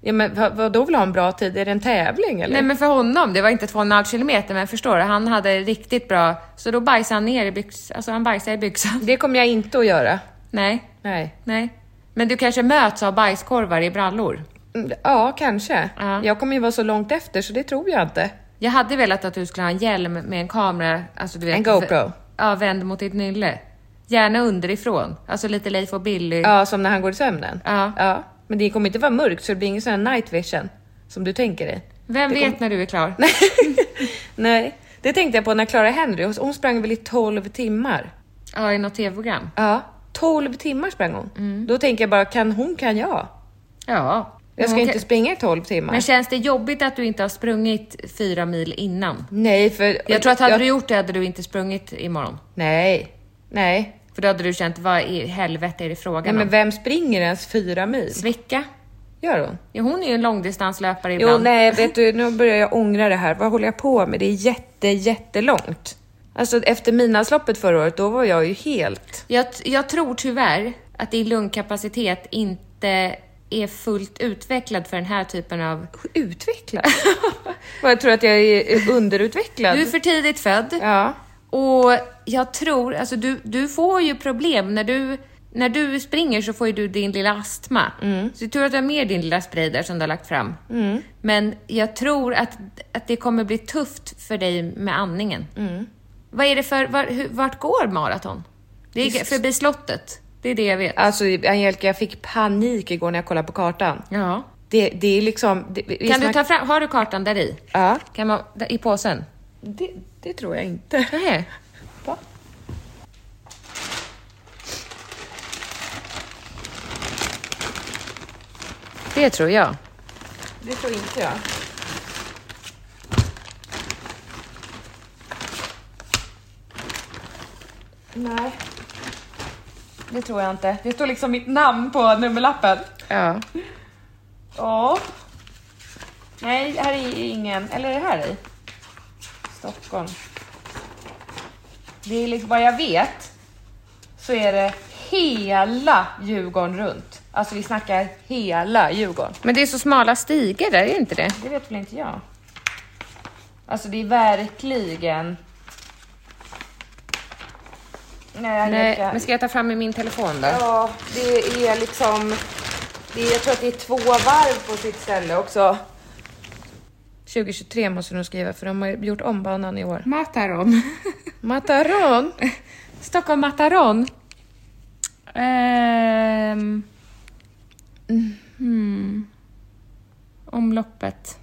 Speaker 2: Ja, men vad, vad då vill ha en bra tid? Är det en tävling eller?
Speaker 1: Nej men för honom, det var inte två och en halv kilometer, men förstår du, han hade riktigt bra... Så då bajsade han ner i byxan, alltså han bajsade i byxan.
Speaker 2: Det kommer jag inte att göra.
Speaker 1: Nej,
Speaker 2: Nej.
Speaker 1: nej. Men du kanske möts av bajskorvar i brallor?
Speaker 2: Mm, Ja, kanske.
Speaker 1: Ja.
Speaker 2: Jag kommer ju vara så långt efter så det tror jag inte.
Speaker 1: Jag hade velat att du skulle ha en hjälm med en kamera, alltså du vet...
Speaker 2: En GoPro.
Speaker 1: Ja, vänd mot ditt nylle. Gärna underifrån. Alltså lite Leif och Billy.
Speaker 2: Ja, som när han går i sömnen.
Speaker 1: Ja.
Speaker 2: Men det kommer inte vara mörkt så det blir ingen sån här night vision som du tänker dig.
Speaker 1: Vem vet när du är klar?
Speaker 2: Nej. Nej, det tänkte jag på när Clara Henry, hon- hon sprang väl i 12 timmar?
Speaker 1: Ja, i något tv-program.
Speaker 2: Ja, 12 timmar sprang hon.
Speaker 1: Mm.
Speaker 2: Då tänker jag bara, kan hon kan jag?
Speaker 1: Ja.
Speaker 2: Jag ska
Speaker 1: Men
Speaker 2: inte
Speaker 1: okej.
Speaker 2: springa i 12 timmar.
Speaker 1: Men känns det jobbigt att du inte har sprungit fyra mil innan?
Speaker 2: Nej, för...
Speaker 1: Jag tror att hade du gjort det hade du inte sprungit imorgon.
Speaker 2: Nej, nej.
Speaker 1: För då hade du känt, vad i helvete är det
Speaker 2: Nej,
Speaker 1: frågan
Speaker 2: men
Speaker 1: om?
Speaker 2: vem springer ens fyra mil?
Speaker 1: Svicka?
Speaker 2: Gör hon?
Speaker 1: Ja, hon är ju en långdistanslöpare
Speaker 2: Jo,
Speaker 1: ibland.
Speaker 2: nej, vet du, nu börjar jag ångra det här. Vad håller jag på med? Det är jätte, jättelångt. Alltså efter Midnattsloppet förra året, då var jag ju helt...
Speaker 1: Jag, t- jag tror tyvärr att din lungkapacitet inte är fullt utvecklad för den här typen av...
Speaker 2: Utvecklad? Vad, jag tror att jag är underutvecklad?
Speaker 1: Du är för tidigt född.
Speaker 2: Ja.
Speaker 1: Och jag tror, alltså du, du får ju problem när du, när du springer så får ju du din lilla astma. Så det är tur att du har med din lilla spray där som du har lagt fram. Men jag tror att, att det kommer bli tufft för dig med andningen. Vad är det för, var, hur, vart går maraton? Det är förbi slottet. Det är det jag vet.
Speaker 2: Alltså Angelica, jag fick panik igår när jag kollade på kartan.
Speaker 1: Ja.
Speaker 2: Det, det är liksom... Det, det är
Speaker 1: Kan
Speaker 2: som
Speaker 1: du
Speaker 2: att-
Speaker 1: ta fram, har du kartan där i?
Speaker 2: Ja.
Speaker 1: Kan man, där- I påsen?
Speaker 2: Det, det tror jag inte.
Speaker 1: Nej.
Speaker 2: Va?
Speaker 1: Det tror jag.
Speaker 2: Det tror inte jag. Nej. Det tror jag inte. Det står liksom mitt namn på nummerlappen.
Speaker 1: Ja.
Speaker 2: Ja. Nej, här är ingen. Eller är det här i? Stockholm. Det är liksom vad jag vet så är det hela Djurgården runt. Alltså vi snackar hela Djurgården.
Speaker 1: Men det är så smala stigar där, är det inte det?
Speaker 2: Det vet väl inte jag. Alltså det är verkligen... Nej,
Speaker 1: Nej,
Speaker 2: Angelica.
Speaker 1: men ska jag ta fram i min telefon då?
Speaker 2: Ja, det är liksom... Det är, jag tror att det är två varv på sitt ställe också. 2023 måste de skriva för de har gjort om banan i år.
Speaker 1: Mataron.
Speaker 2: Mataron!
Speaker 1: Stockholm Mataron. Ehm. Mhm. Omloppet.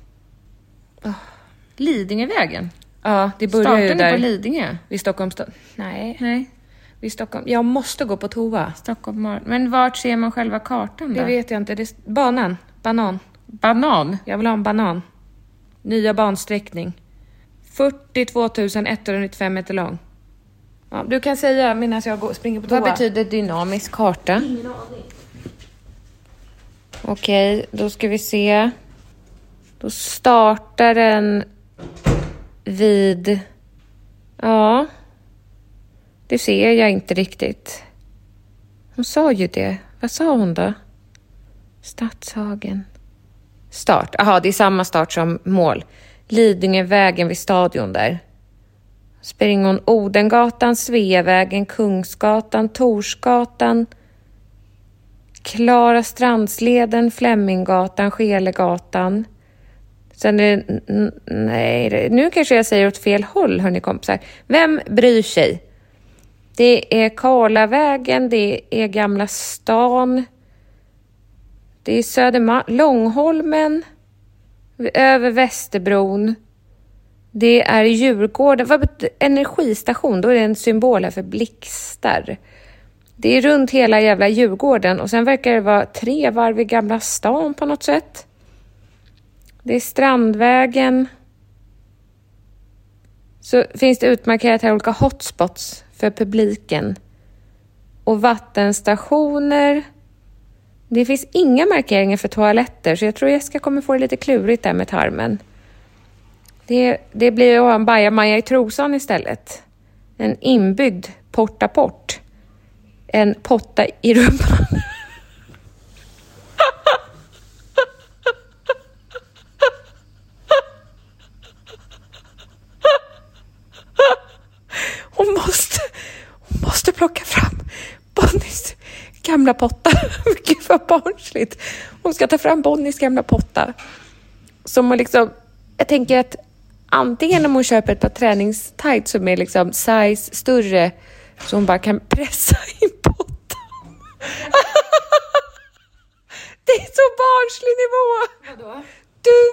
Speaker 1: Lidingövägen.
Speaker 2: Ja, det börjar ju
Speaker 1: Startar ni på
Speaker 2: där
Speaker 1: Lidingö?
Speaker 2: vid Stockholms... stad- Nej,
Speaker 1: Nej.
Speaker 2: vid Stockholm. Jag måste gå på toa.
Speaker 1: Stockholm Mar- Men vart ser man själva kartan då?
Speaker 2: Det vet jag inte. Det är banan. Banan.
Speaker 1: Banan.
Speaker 2: Jag vill ha en banan. Nya bansträckning. 42 195 meter lång. Ja, du kan säga medan jag går, springer på toa.
Speaker 1: Vad betyder dynamisk karta? Ingen aning. Okej, då ska vi se. Då startar den vid... Ja. Det ser jag inte riktigt. Hon sa ju det. Vad sa hon då? Stadshagen. Start. Jaha, det är samma start som mål. Lidingövägen vid stadion där springer hon Odengatan, Sveavägen, Kungsgatan, Torsgatan, Klara Strandsleden, Fleminggatan, Schelegatan. Sen är det, n- nej, det- nu kanske jag säger åt fel håll hörni kompisar. Vem bryr sig? Det är Karlavägen, det är Gamla stan. Det är Södermalm, Långholmen, över Västerbron. Det är Djurgården. Vad bet- energistation, då är det en symbol här för blixtar. Det är runt hela jävla Djurgården och sen verkar det vara tre varv i Gamla stan på något sätt. Det är Strandvägen. Så finns det utmarkerat här olika hotspots för publiken. Och vattenstationer. Det finns inga markeringar för toaletter så jag tror Jessica kommer få det lite klurigt där med tarmen. Det, det blir att ha en bajamaja i trosan istället. En inbyggd portaport. En potta i rumpan. Hon måste, hon måste plocka fram Bonnys gamla potta. Gud vad barnsligt. Hon ska ta fram Bonnys gamla potta. Som hon liksom, jag tänker att antingen om hon köper ett par träningstights som är liksom size större så hon bara kan pressa in pottan. Det är så barnslig nivå! Vadå? Du!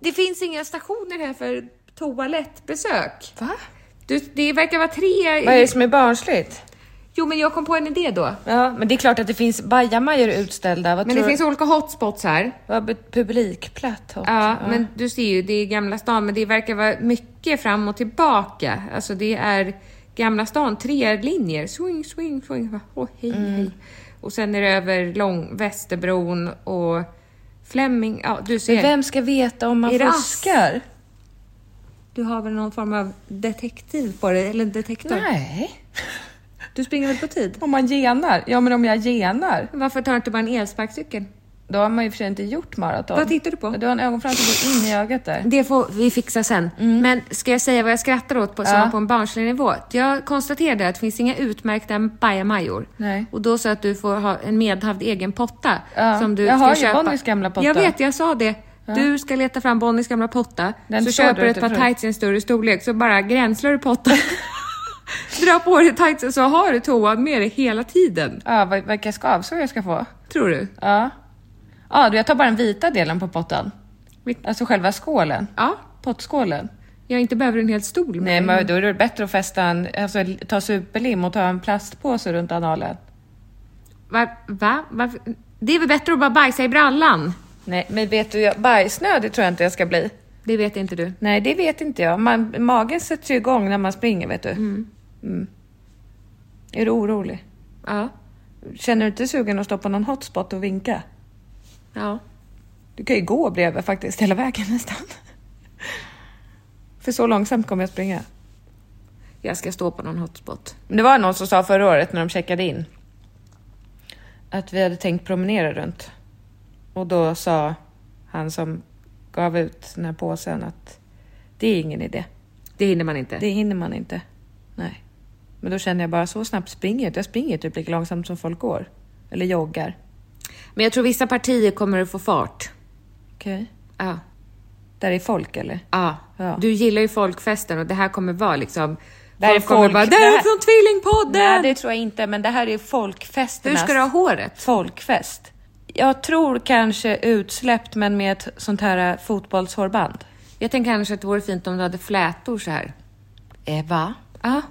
Speaker 1: Det finns inga stationer här för toalettbesök. Va? Du, det verkar vara tre...
Speaker 2: Vad är det som är barnsligt?
Speaker 1: Jo, men jag kom på en idé då.
Speaker 2: Ja, men det är klart att det finns bajamajor utställda. Vad
Speaker 1: Men
Speaker 2: tror
Speaker 1: det finns
Speaker 2: du?
Speaker 1: olika hotspots här.
Speaker 2: Vad be- publikplatt hot.
Speaker 1: Ja, men du ser ju, det är Gamla stan, men det verkar vara mycket fram och tillbaka. Alltså det är Gamla stan, tre linjer. Swing, swing, swing. Åh, hej, hej. Och sen är det över Lång, Västerbron och Flemming. Ja, du ser.
Speaker 2: Vem ska veta om man
Speaker 1: Är det ass?
Speaker 2: fuskar?
Speaker 1: Du har väl någon form av detektiv på dig? Eller en detektor?
Speaker 2: Nej.
Speaker 1: Du springer väl på tid?
Speaker 2: Om man genar? Ja, men om jag genar?
Speaker 1: Varför tar du inte bara en elsparkcykel?
Speaker 2: Då har man ju för sig inte gjort maraton.
Speaker 1: Vad tittar du på?
Speaker 2: Du har en ögonfrans som går in i ögat där.
Speaker 1: Det får vi fixa sen.
Speaker 2: Mm.
Speaker 1: Men ska jag säga vad jag skrattar åt på, som var på en barnslig nivå? Jag konstaterade att det finns inga utmärkta bajamajor.
Speaker 2: Nej.
Speaker 1: Och då sa jag att du får ha en medhavd egen potta.
Speaker 2: Ja.
Speaker 1: Som du
Speaker 2: Jag
Speaker 1: ska
Speaker 2: har ju
Speaker 1: köpa.
Speaker 2: Bonnys gamla potta.
Speaker 1: Jag vet, jag sa det. Du ska leta fram Bonnys gamla potta.
Speaker 2: Den
Speaker 1: så
Speaker 2: såg
Speaker 1: köper
Speaker 2: du
Speaker 1: du
Speaker 2: inte
Speaker 1: ett par
Speaker 2: förut.
Speaker 1: tights i en större storlek, så bara gränslar du pottan. Dra på dig tightsen så har du toan med dig hela tiden.
Speaker 2: Ja, Ah, vad- vilka skavsår jag ska få.
Speaker 1: Tror du?
Speaker 2: Ja. Ja, du, jag tar bara den vita delen på potten.
Speaker 1: Vilk-
Speaker 2: Alltså själva skålen.
Speaker 1: Ja.
Speaker 2: Pottskålen.
Speaker 1: Jag inte behöver en hel stol med
Speaker 2: Nej,
Speaker 1: mig.
Speaker 2: men då är det bättre att fästa en, alltså, ta superlim och ta en plastpåse runt analen.
Speaker 1: Va? Va? Varför? Det är väl bättre att bara bajsa i brallan?
Speaker 2: Nej, men vet du, jag, bajsnödig tror jag inte jag ska bli.
Speaker 1: Det vet inte du.
Speaker 2: Nej, det vet inte jag. Man, magen sätts ju igång när man springer, vet du. Mm. Är du orolig?
Speaker 1: Ja.
Speaker 2: Känner du inte sugen att stå på någon hotspot och vinka?
Speaker 1: ja.
Speaker 2: Du kan ju gå bredvid faktiskt, hela vägen nästan. För så långsamt kommer jag springa.
Speaker 1: Jag ska stå på någon hotspot.
Speaker 2: Men Det var någon som sa förra året när de checkade in att vi hade tänkt promenera runt. Och då sa han som gav ut den här påsen att det är ingen idé.
Speaker 1: Det hinner man inte.
Speaker 2: Det hinner man inte. Nej. Men då känner jag bara så snabbt springer jag inte. Jag springer typ lika långsamt som folk går. Eller joggar.
Speaker 1: Men jag tror vissa partier kommer att få fart.
Speaker 2: Okej.
Speaker 1: Ja.
Speaker 2: Där är folk eller?
Speaker 1: Ja.
Speaker 2: Ja.
Speaker 1: Du gillar ju folkfesten och det här kommer vara liksom...
Speaker 2: Det här är
Speaker 1: kommer
Speaker 2: folk-
Speaker 1: bara,
Speaker 2: det
Speaker 1: där
Speaker 2: här-
Speaker 1: är från Tvillingpodden!
Speaker 2: Nej, det tror jag inte. Men det här är folkfesternas...
Speaker 1: Hur ska du ha håret?
Speaker 2: Folkfest. Jag tror kanske utsläppt men med ett sånt här eh, fotbollshårband.
Speaker 1: Jag tänker kanske att det vore fint om du hade flätor så här.
Speaker 2: Eva?
Speaker 1: Ja.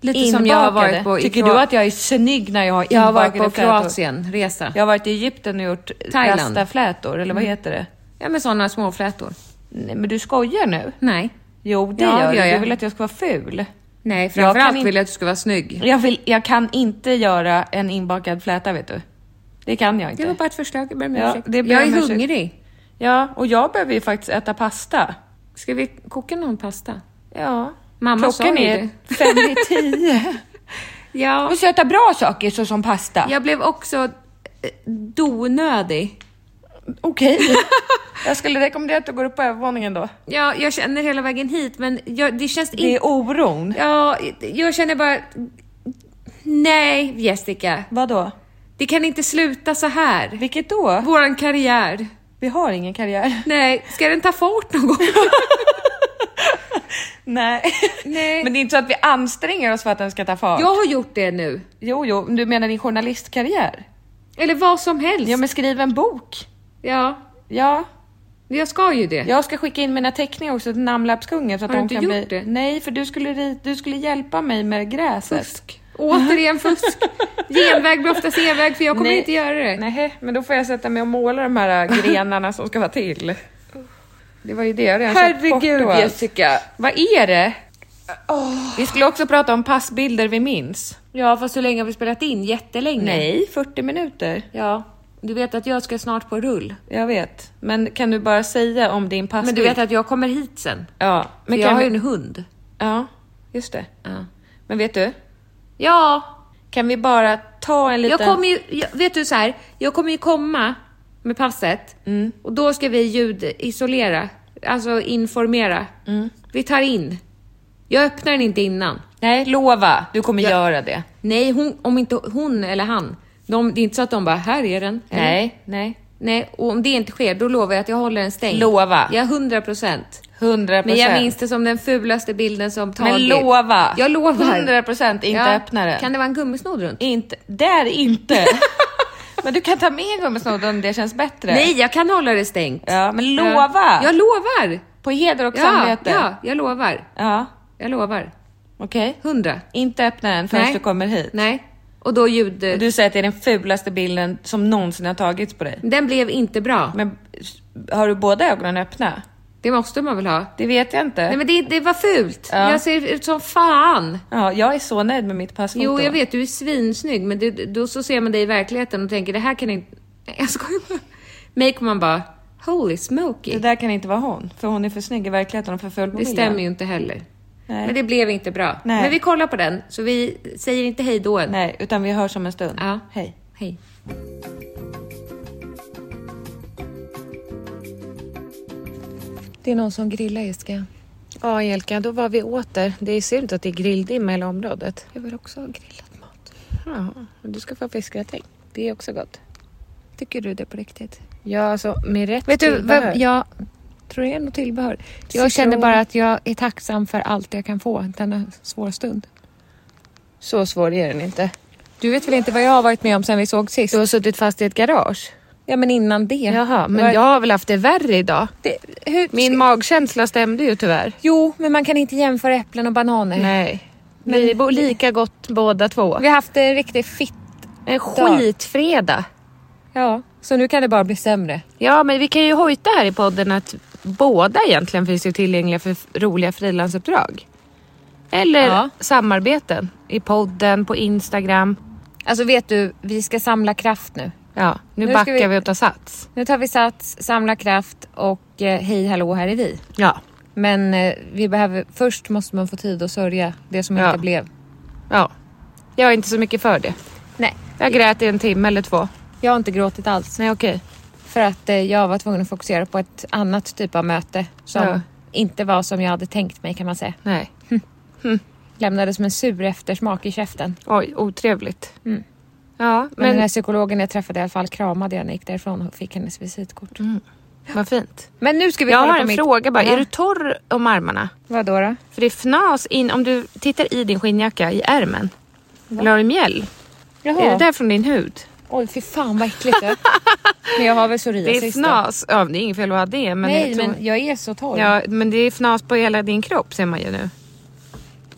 Speaker 1: Lite som jag har varit på... i
Speaker 2: Tycker
Speaker 1: Kroa-
Speaker 2: du att jag är snygg när jag har
Speaker 1: Jag har varit på
Speaker 2: inbakade flätor?
Speaker 1: Kroatien-resa.
Speaker 2: Jag har varit i Egypten och gjort
Speaker 1: Thailand. Mm.
Speaker 2: rastaflätor, eller vad heter det?
Speaker 1: Ja, med sådana små flätor.
Speaker 2: Nej, men du skojar nu?
Speaker 1: Nej.
Speaker 2: Jo, det
Speaker 1: Ja,
Speaker 2: gör
Speaker 1: det
Speaker 2: du.
Speaker 1: gör
Speaker 2: Du
Speaker 1: jag.
Speaker 2: vill att jag ska vara ful.
Speaker 1: Nej,
Speaker 2: kan
Speaker 1: framförallt
Speaker 2: inte-
Speaker 1: vill jag att du ska vara snygg.
Speaker 2: Jag, vill, jag kan inte göra en inbakad fläta, vet du. Det kan jag inte.
Speaker 1: Det var bara ett förslag, jag ber om
Speaker 2: Ja,
Speaker 1: ursäkt.
Speaker 2: det ber
Speaker 1: Jag
Speaker 2: om
Speaker 1: är
Speaker 2: ursäkt.
Speaker 1: hungrig.
Speaker 2: Ja, och jag behöver ju faktiskt äta pasta.
Speaker 1: Ska vi koka någon pasta?
Speaker 2: Ja.
Speaker 1: Mamma sa
Speaker 2: Klockan
Speaker 1: ju
Speaker 2: är
Speaker 1: det.
Speaker 2: fem i tio. Jag
Speaker 1: Ja.
Speaker 2: måste äta bra saker såsom pasta.
Speaker 1: Jag blev också eh, donödig.
Speaker 2: Okej. jag skulle rekommendera att du går upp på övervåningen då.
Speaker 1: Ja, jag känner hela vägen hit, men jag, det känns
Speaker 2: Det
Speaker 1: inte...
Speaker 2: är oron.
Speaker 1: Ja, jag känner bara... Nej, Jessica.
Speaker 2: Vadå?
Speaker 1: Det kan inte sluta så här.
Speaker 2: Vilket då?
Speaker 1: Våran karriär.
Speaker 2: Vi har ingen karriär.
Speaker 1: Nej, ska den ta fart någon gång?
Speaker 2: Nej.
Speaker 1: Nej.
Speaker 2: Men det är inte så att vi anstränger oss för att den ska ta fart.
Speaker 1: Jag har gjort det nu.
Speaker 2: Jo, jo, men du menar din journalistkarriär?
Speaker 1: Eller vad som helst.
Speaker 2: Ja, men skriv en bok.
Speaker 1: Ja,
Speaker 2: Ja,
Speaker 1: jag ska ju det.
Speaker 2: jag ska skicka in mina teckningar också till namnlappskungen så att
Speaker 1: Har du
Speaker 2: de
Speaker 1: inte
Speaker 2: kan
Speaker 1: gjort
Speaker 2: bli...
Speaker 1: det?
Speaker 2: Nej, för du skulle, ri- du skulle hjälpa mig med gräset.
Speaker 1: Fusk. Återigen fusk. Genväg blir oftast enväg, för jag kommer
Speaker 2: Nej.
Speaker 1: inte göra det.
Speaker 2: Nej, men då får jag sätta mig och måla de här äh, grenarna som ska vara till. Det var ju det jag redan köpt bort
Speaker 1: Herregud,
Speaker 2: och allt.
Speaker 1: Jessica.
Speaker 2: Vad är det? Vi skulle också prata om passbilder vi minns.
Speaker 1: Ja, fast hur länge har vi spelat in? Jättelänge.
Speaker 2: Nej, 40 minuter.
Speaker 1: Ja. Du vet att jag ska snart på rull.
Speaker 8: Jag vet. Men kan du bara säga om din passbild?
Speaker 1: Men du vet att jag kommer hit sen.
Speaker 8: Ja, Alltså, men
Speaker 1: För jag
Speaker 8: kan
Speaker 1: har ju
Speaker 8: vi-
Speaker 1: en hund.
Speaker 8: Ja, just det.
Speaker 1: Ja.
Speaker 8: Men vet du?
Speaker 1: Ja,
Speaker 8: Kan vi bara ta en liten...
Speaker 1: jag kommer ju, jag, vet du så här, jag kommer ju komma med passet
Speaker 8: Mm.
Speaker 1: och då ska vi ljudisolera, alltså informera.
Speaker 8: Mm.
Speaker 1: Vi tar in. Jag öppnar den inte innan.
Speaker 8: Nej, lova. Du kommer göra det.
Speaker 1: Nej, hon, om inte hon eller han. De, det är inte så att de bara, här är den. eller?
Speaker 8: Nej, nej.
Speaker 1: Nej, och om det inte sker, då lovar jag att jag håller den stängd.
Speaker 8: Lova.
Speaker 1: Ja, hundra procent.
Speaker 8: 100
Speaker 1: Men
Speaker 8: procent.
Speaker 1: jag minns det som den fulaste bilden som tagits.
Speaker 8: Men lova.
Speaker 1: Jag lovar.
Speaker 8: 100% inte öppna den.
Speaker 1: Kan det vara en gummisnodd runt?
Speaker 8: Inte... Där inte. men du kan ta med gummisnodd om det känns bättre.
Speaker 1: Nej, jag kan hålla det stängt.
Speaker 8: Ja, men lova.
Speaker 1: Jag lovar!
Speaker 8: På heder och
Speaker 1: Ja,
Speaker 8: samvete.
Speaker 1: ja, jag lovar.
Speaker 8: ja.
Speaker 1: Jag lovar.
Speaker 8: Okej.
Speaker 1: Hundra.
Speaker 8: Inte öppna den förrän
Speaker 1: Nej.
Speaker 8: du kommer hit.
Speaker 1: Nej. Och då ljud...
Speaker 8: Och Du säger att det är den fulaste bilden som någonsin har tagits på dig.
Speaker 1: Den blev inte bra.
Speaker 8: Men har du båda ögonen öppna?
Speaker 1: Det måste man väl ha?
Speaker 8: Det vet jag inte.
Speaker 1: Nej men det, det var fult!
Speaker 8: Ja.
Speaker 1: Jag ser ut som fan!
Speaker 8: Ja, jag är så nöjd med mitt passfoto.
Speaker 1: Jo, jag vet, du är svinsnygg, men det, då så ser man dig i verkligheten och tänker det här kan inte... Nej, Jag skojar bara. Mig kommer man bara, holy smoky.
Speaker 8: Det
Speaker 1: Det,
Speaker 8: där kan inte vara hon, för hon är för snygg i verkligheten och för full på bilden.
Speaker 1: stämmer ju inte heller.
Speaker 8: Nej.
Speaker 1: Men det blev inte bra.
Speaker 8: Nej.
Speaker 1: Men vi kollar på den, så vi säger inte hej då än.
Speaker 8: Nej, utan vi hörs om en stund.
Speaker 1: Ja.
Speaker 8: Hej.
Speaker 1: Hej. Det är någon som grillar Jessica.
Speaker 2: Ja, Jelka, då var vi åter. Det ser ut att det är grilldimma i hela området.
Speaker 1: Jag vill också ha grillat mat.
Speaker 2: Ja, men du ska få fiskgratäng. Det är också gott.
Speaker 1: Tycker du det på riktigt?
Speaker 2: Ja, alltså med rätt
Speaker 1: Vet du,
Speaker 2: tillbehör.
Speaker 1: vad, jag tror det är något tillbehör. Jag
Speaker 2: Citron.
Speaker 1: känner bara att jag är tacksam för allt jag kan få denna svåra stund.
Speaker 2: Så svår är den inte.
Speaker 1: Du vet väl inte vad jag har varit med om sen vi såg sist?
Speaker 2: Du har suttit fast i ett garage.
Speaker 1: Ja, men innan det.
Speaker 2: Jaha, men
Speaker 1: Var-
Speaker 2: jag har väl haft det värre idag.
Speaker 1: Det, hur,
Speaker 2: Min magkänsla stämde ju tyvärr.
Speaker 1: Jo, men man kan inte jämföra äpplen och bananer.
Speaker 2: Nej. vi bor lika gott båda två.
Speaker 1: Vi har haft en riktig fitt...
Speaker 2: En skitfredag.
Speaker 1: Ja, så nu kan det bara bli sämre.
Speaker 2: Ja, men vi kan ju hojta här i podden att båda egentligen finns ju tillgängliga för f- roliga frilansuppdrag. Eller
Speaker 1: Ja.
Speaker 2: samarbeten i podden, på Instagram.
Speaker 1: Alltså vet du, vi ska samla kraft nu.
Speaker 2: Ja, nu,
Speaker 1: Nu ska
Speaker 2: backar
Speaker 1: vi-
Speaker 2: vi... och tar sats.
Speaker 1: Nu tar vi sats, samlar kraft och eh, hej hallå här är vi.
Speaker 2: Ja.
Speaker 1: Men eh, vi behöver, först måste man få tid att sörja det som
Speaker 2: Ja.
Speaker 1: inte blev.
Speaker 2: ja. Jag är inte så mycket för det.
Speaker 1: Nej,
Speaker 2: Jag grät i en timme eller två.
Speaker 1: jag har inte gråtit alls.
Speaker 2: Nej, okej.
Speaker 1: För att eh, jag var tvungen att fokusera på ett annat typ av möte som
Speaker 2: Ja.
Speaker 1: inte var som jag hade tänkt mig kan man säga.
Speaker 2: Nej.
Speaker 1: Lämnade som en sur eftersmak i käften.
Speaker 2: Oj, otrevligt. Ja,
Speaker 1: Mm. Men,
Speaker 2: men
Speaker 1: den här psykologen jag träffade i alla fall kramade jag när jag gick därifrån och fick hennes visitkort.
Speaker 2: vad fint.
Speaker 1: Men nu ska eh, vi
Speaker 2: Mm. Jag
Speaker 1: kolla
Speaker 2: har
Speaker 1: på
Speaker 2: en
Speaker 1: mitt...
Speaker 2: fråga bara.
Speaker 1: Ja.
Speaker 2: Är du torr om armarna?
Speaker 1: Vadå då?
Speaker 2: För det är fnas in, om du tittar i din skinnjacka i ärmen. Eller har du mjäll?
Speaker 1: Jaha.
Speaker 2: Är det där från din hud?
Speaker 1: Oj, fy fan vad äckligt. du. men jag har väl
Speaker 2: Det är
Speaker 1: psoriasis då.
Speaker 2: fnas. Ja, det är inget fel att ha det. Men
Speaker 1: Nej,
Speaker 2: jag tror-
Speaker 1: men jag är så torr.
Speaker 2: ja, men det är fnas på hela din kropp ser man ju nu.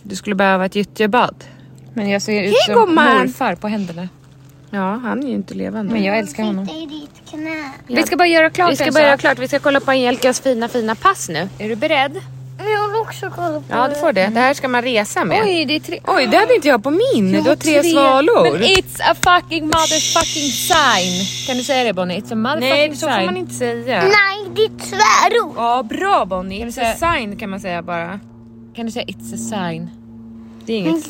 Speaker 2: Du skulle behöva ett gyttjebad.
Speaker 1: Men jag ser ut
Speaker 2: Hej,
Speaker 1: som
Speaker 2: gumman! Mm,
Speaker 1: morfar på händerna.
Speaker 2: Ja, han är ju inte levande.
Speaker 1: Men jag älskar honom. Vi ska bara göra klart
Speaker 2: Vi ska
Speaker 1: en
Speaker 2: bara göra
Speaker 1: sak.
Speaker 2: klart. Vi ska kolla på Angelkas fina, fina pass nu.
Speaker 1: Är du beredd?
Speaker 2: Ja, du får det. Det här ska man resa med.
Speaker 1: Oj, det är tre...
Speaker 2: Oj, det hade inte jag på min.
Speaker 1: Jag
Speaker 2: du har tre,
Speaker 1: Men
Speaker 2: svalor.
Speaker 1: it's a fucking motherfucking sign. Kan du säga det Bonnie? It's a motherfucking
Speaker 2: Nej, så
Speaker 1: sign.
Speaker 2: får man inte säga.
Speaker 7: Nej, det är tvärord.
Speaker 2: Ja, bra Bonnie.
Speaker 1: du
Speaker 2: It's
Speaker 1: säga-
Speaker 2: a sign kan man säga bara.
Speaker 1: Kan du säga it's a sign?
Speaker 2: Det är inget.
Speaker 7: Man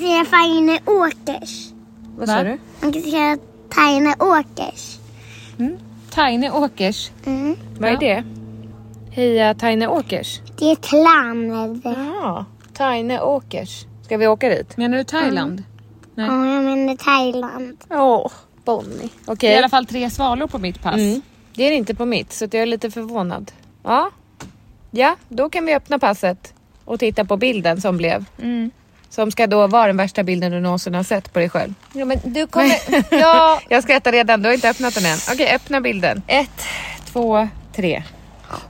Speaker 7: kan säga Taine Åkers.
Speaker 2: Mm. Vad sa
Speaker 1: Va?
Speaker 2: du?
Speaker 7: Man kan säga Taine Åkers.
Speaker 1: Tiny Åkers.
Speaker 7: Mm.
Speaker 2: Vad är det? Heja Taine Åkers.
Speaker 7: Det är ett land.
Speaker 2: Ja, Taine Åkers. Ska vi åka dit?
Speaker 1: Menar du Thailand?
Speaker 7: Ja, jag menar Thailand.
Speaker 2: Åh, Bonnie.
Speaker 1: Det är i
Speaker 2: Okej, Mm.
Speaker 1: alla fall tre svalor på mitt pass.
Speaker 2: det är det inte på mitt så att jag är lite förvånad. Ja. ja, då kan vi öppna passet och titta på bilden som blev.
Speaker 1: Mm.
Speaker 2: Som ska då vara den värsta bilden du någonsin har sett på dig själv.
Speaker 1: Ja, men du kommer... ja,
Speaker 2: Jag skrattar redan, du har inte öppnat den än. Okej, öppna bilden.
Speaker 1: ett, två, tre.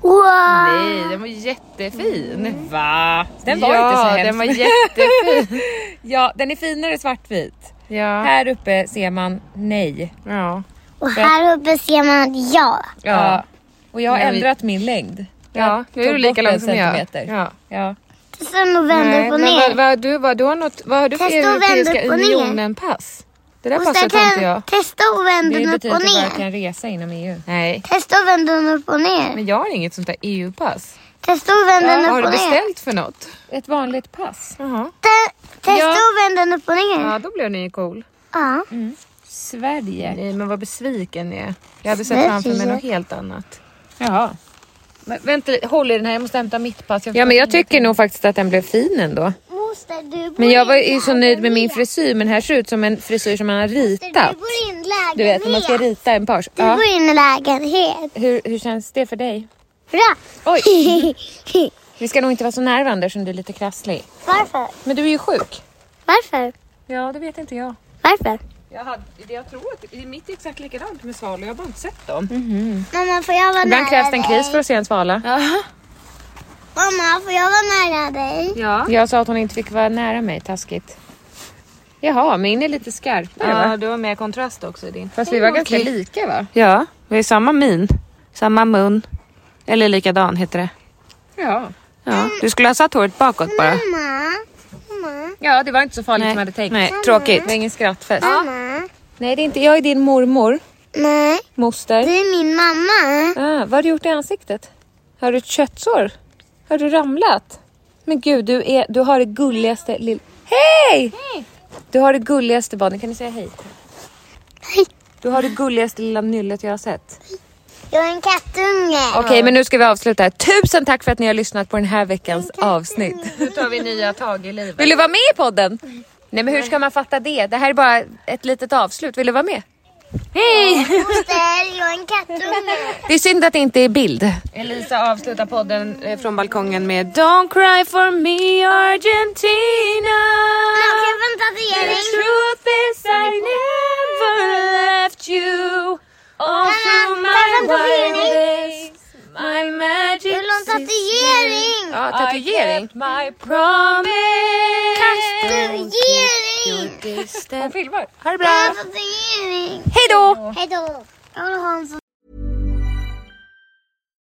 Speaker 7: Wow!
Speaker 2: Nej, den var jättefin.
Speaker 1: Va? Den var
Speaker 2: ja,
Speaker 1: inte så hemsk.
Speaker 2: den var jättefin.
Speaker 1: Ja, den är finare svartvit.
Speaker 2: ja.
Speaker 1: Här uppe ser man nej.
Speaker 2: ja.
Speaker 7: Och här uppe ser man att ja.
Speaker 1: Ja. Och jag har
Speaker 2: Men vi-
Speaker 1: ändrat min längd.
Speaker 2: Ja, nu är
Speaker 1: tog
Speaker 2: du lika
Speaker 1: bort en
Speaker 2: lång som jag.
Speaker 1: centimeter.
Speaker 2: Ja.
Speaker 1: Ja.
Speaker 7: Det är som att vända
Speaker 2: Nej,
Speaker 7: upp och
Speaker 2: men vad,
Speaker 7: ner.
Speaker 2: vad, du, vad, du har något, vad har du för
Speaker 7: Fast då vänder
Speaker 2: Europeiska
Speaker 7: upp och ner.
Speaker 2: unionen-pass? Det där
Speaker 9: Och
Speaker 2: passar
Speaker 9: så
Speaker 2: inte
Speaker 9: kan
Speaker 2: jag.
Speaker 9: testa och
Speaker 1: Det
Speaker 9: vända
Speaker 1: är
Speaker 9: den upp
Speaker 1: betyder
Speaker 9: och
Speaker 1: att du bara
Speaker 9: ner.
Speaker 1: kan resa inom E EU.
Speaker 2: Nej,
Speaker 9: Testa och vända den upp och ner.
Speaker 2: men jag har inget sånt där EU-pass.
Speaker 9: Testa och vända den
Speaker 2: Vad har
Speaker 9: upp
Speaker 2: du
Speaker 9: och ner.
Speaker 2: beställt för något?
Speaker 1: Ett vanligt pass.
Speaker 2: Jaha.
Speaker 9: Te- Testa
Speaker 2: Ja.
Speaker 9: och vända den upp och ner.
Speaker 2: Ja, då blev ni ju cool.
Speaker 9: Ja.
Speaker 1: Sverige.
Speaker 2: Nej, men vad besviken ni är. Jag hade sett framför mig något helt annat.
Speaker 1: Jaha.
Speaker 2: Men vänta, håll i den här. Jag måste hämta mitt pass.
Speaker 1: Ja, men jag tycker nog faktiskt att den blev fin ändå.
Speaker 9: Moster, du bor
Speaker 1: Men jag var
Speaker 9: i
Speaker 1: ju så
Speaker 9: en
Speaker 1: nöjd med min
Speaker 9: lägenhet.
Speaker 1: frisyr, men här ser ut som en frisyr som man har ritat.
Speaker 9: Du bor i en
Speaker 1: Du vet, när man ska
Speaker 9: lägenhet.
Speaker 1: rita en page.
Speaker 9: Du bor
Speaker 1: Ja.
Speaker 9: i en lägenhet.
Speaker 1: Hur, hur känns det för dig?
Speaker 9: Bra.
Speaker 1: Oj. Vi ska nog inte vara så nervande eftersom du är lite krasslig.
Speaker 9: Varför?
Speaker 1: Men du är ju sjuk.
Speaker 9: Varför?
Speaker 1: Ja, det vet inte jag.
Speaker 9: Varför?
Speaker 2: Jag, hade, jag tror att det- mitt är exakt likadant med svalor. Jag har bara inte sett dem.
Speaker 9: Mamma, får jag vara
Speaker 1: Ibland
Speaker 9: nära
Speaker 1: krävs det en kris för att se en svala.
Speaker 9: Mamma, får jag vara nära dig?
Speaker 2: Ja.
Speaker 1: Jag sa att hon inte fick vara nära mig, taskigt. Jaha, min är lite skarpare va?
Speaker 2: ja, du har mer kontrast också i din.
Speaker 1: Fast vi var ganska lika va?
Speaker 2: Ja, vi har samma min. Samma mun. Eller likadan heter det.
Speaker 1: Ja.
Speaker 2: Ja. Du skulle ha satt håret bakåt bara.
Speaker 9: Mamma, mamma,
Speaker 1: Ja, det var inte så farligt
Speaker 2: Nej,
Speaker 1: som jag hade tänkt.
Speaker 2: nej, tråkigt.
Speaker 1: Det var ingen skrattfest.
Speaker 9: mamma.
Speaker 1: Nej, det är inte. Jag är din mormor,
Speaker 9: Nej,
Speaker 1: moster.
Speaker 9: det är min mamma.
Speaker 1: Ah, vad har du gjort i ansiktet? Har du ett köttsår? Har du ramlat? Men gud, du, är, du har det gulligaste lill... Hej! Du har det gulligaste barnet. Kan du säga hej?
Speaker 9: Hej.
Speaker 1: Du har det gulligaste lilla nyllet jag har sett.
Speaker 9: Jag är en kattunge.
Speaker 1: Okej, men nu ska vi avsluta. Tusen tack för att ni har lyssnat på den här veckans avsnitt. Nu tar vi nya tag i livet. Vill du vara med i podden?
Speaker 9: Mm.
Speaker 1: Nej, men hur ska man fatta det? Det här är bara ett litet avslut. Vill du vara med? Hej!
Speaker 9: Moster, jag är en kattunge.
Speaker 1: Det är synd att det inte är bild.
Speaker 2: Elisa avslutar podden eh, från balkongen med Don't cry for me Argentina
Speaker 9: Okej, fantasering.
Speaker 2: Truth is I never left you All through my wild days My magic
Speaker 9: Hur lång tatuering?
Speaker 1: Ja, tatuering.
Speaker 2: My promise
Speaker 9: Tatuering!
Speaker 1: Hon filmar. Ha det bra.
Speaker 9: Tatuering!
Speaker 1: Hej då!
Speaker 9: Hej då! Jag vill ha en sån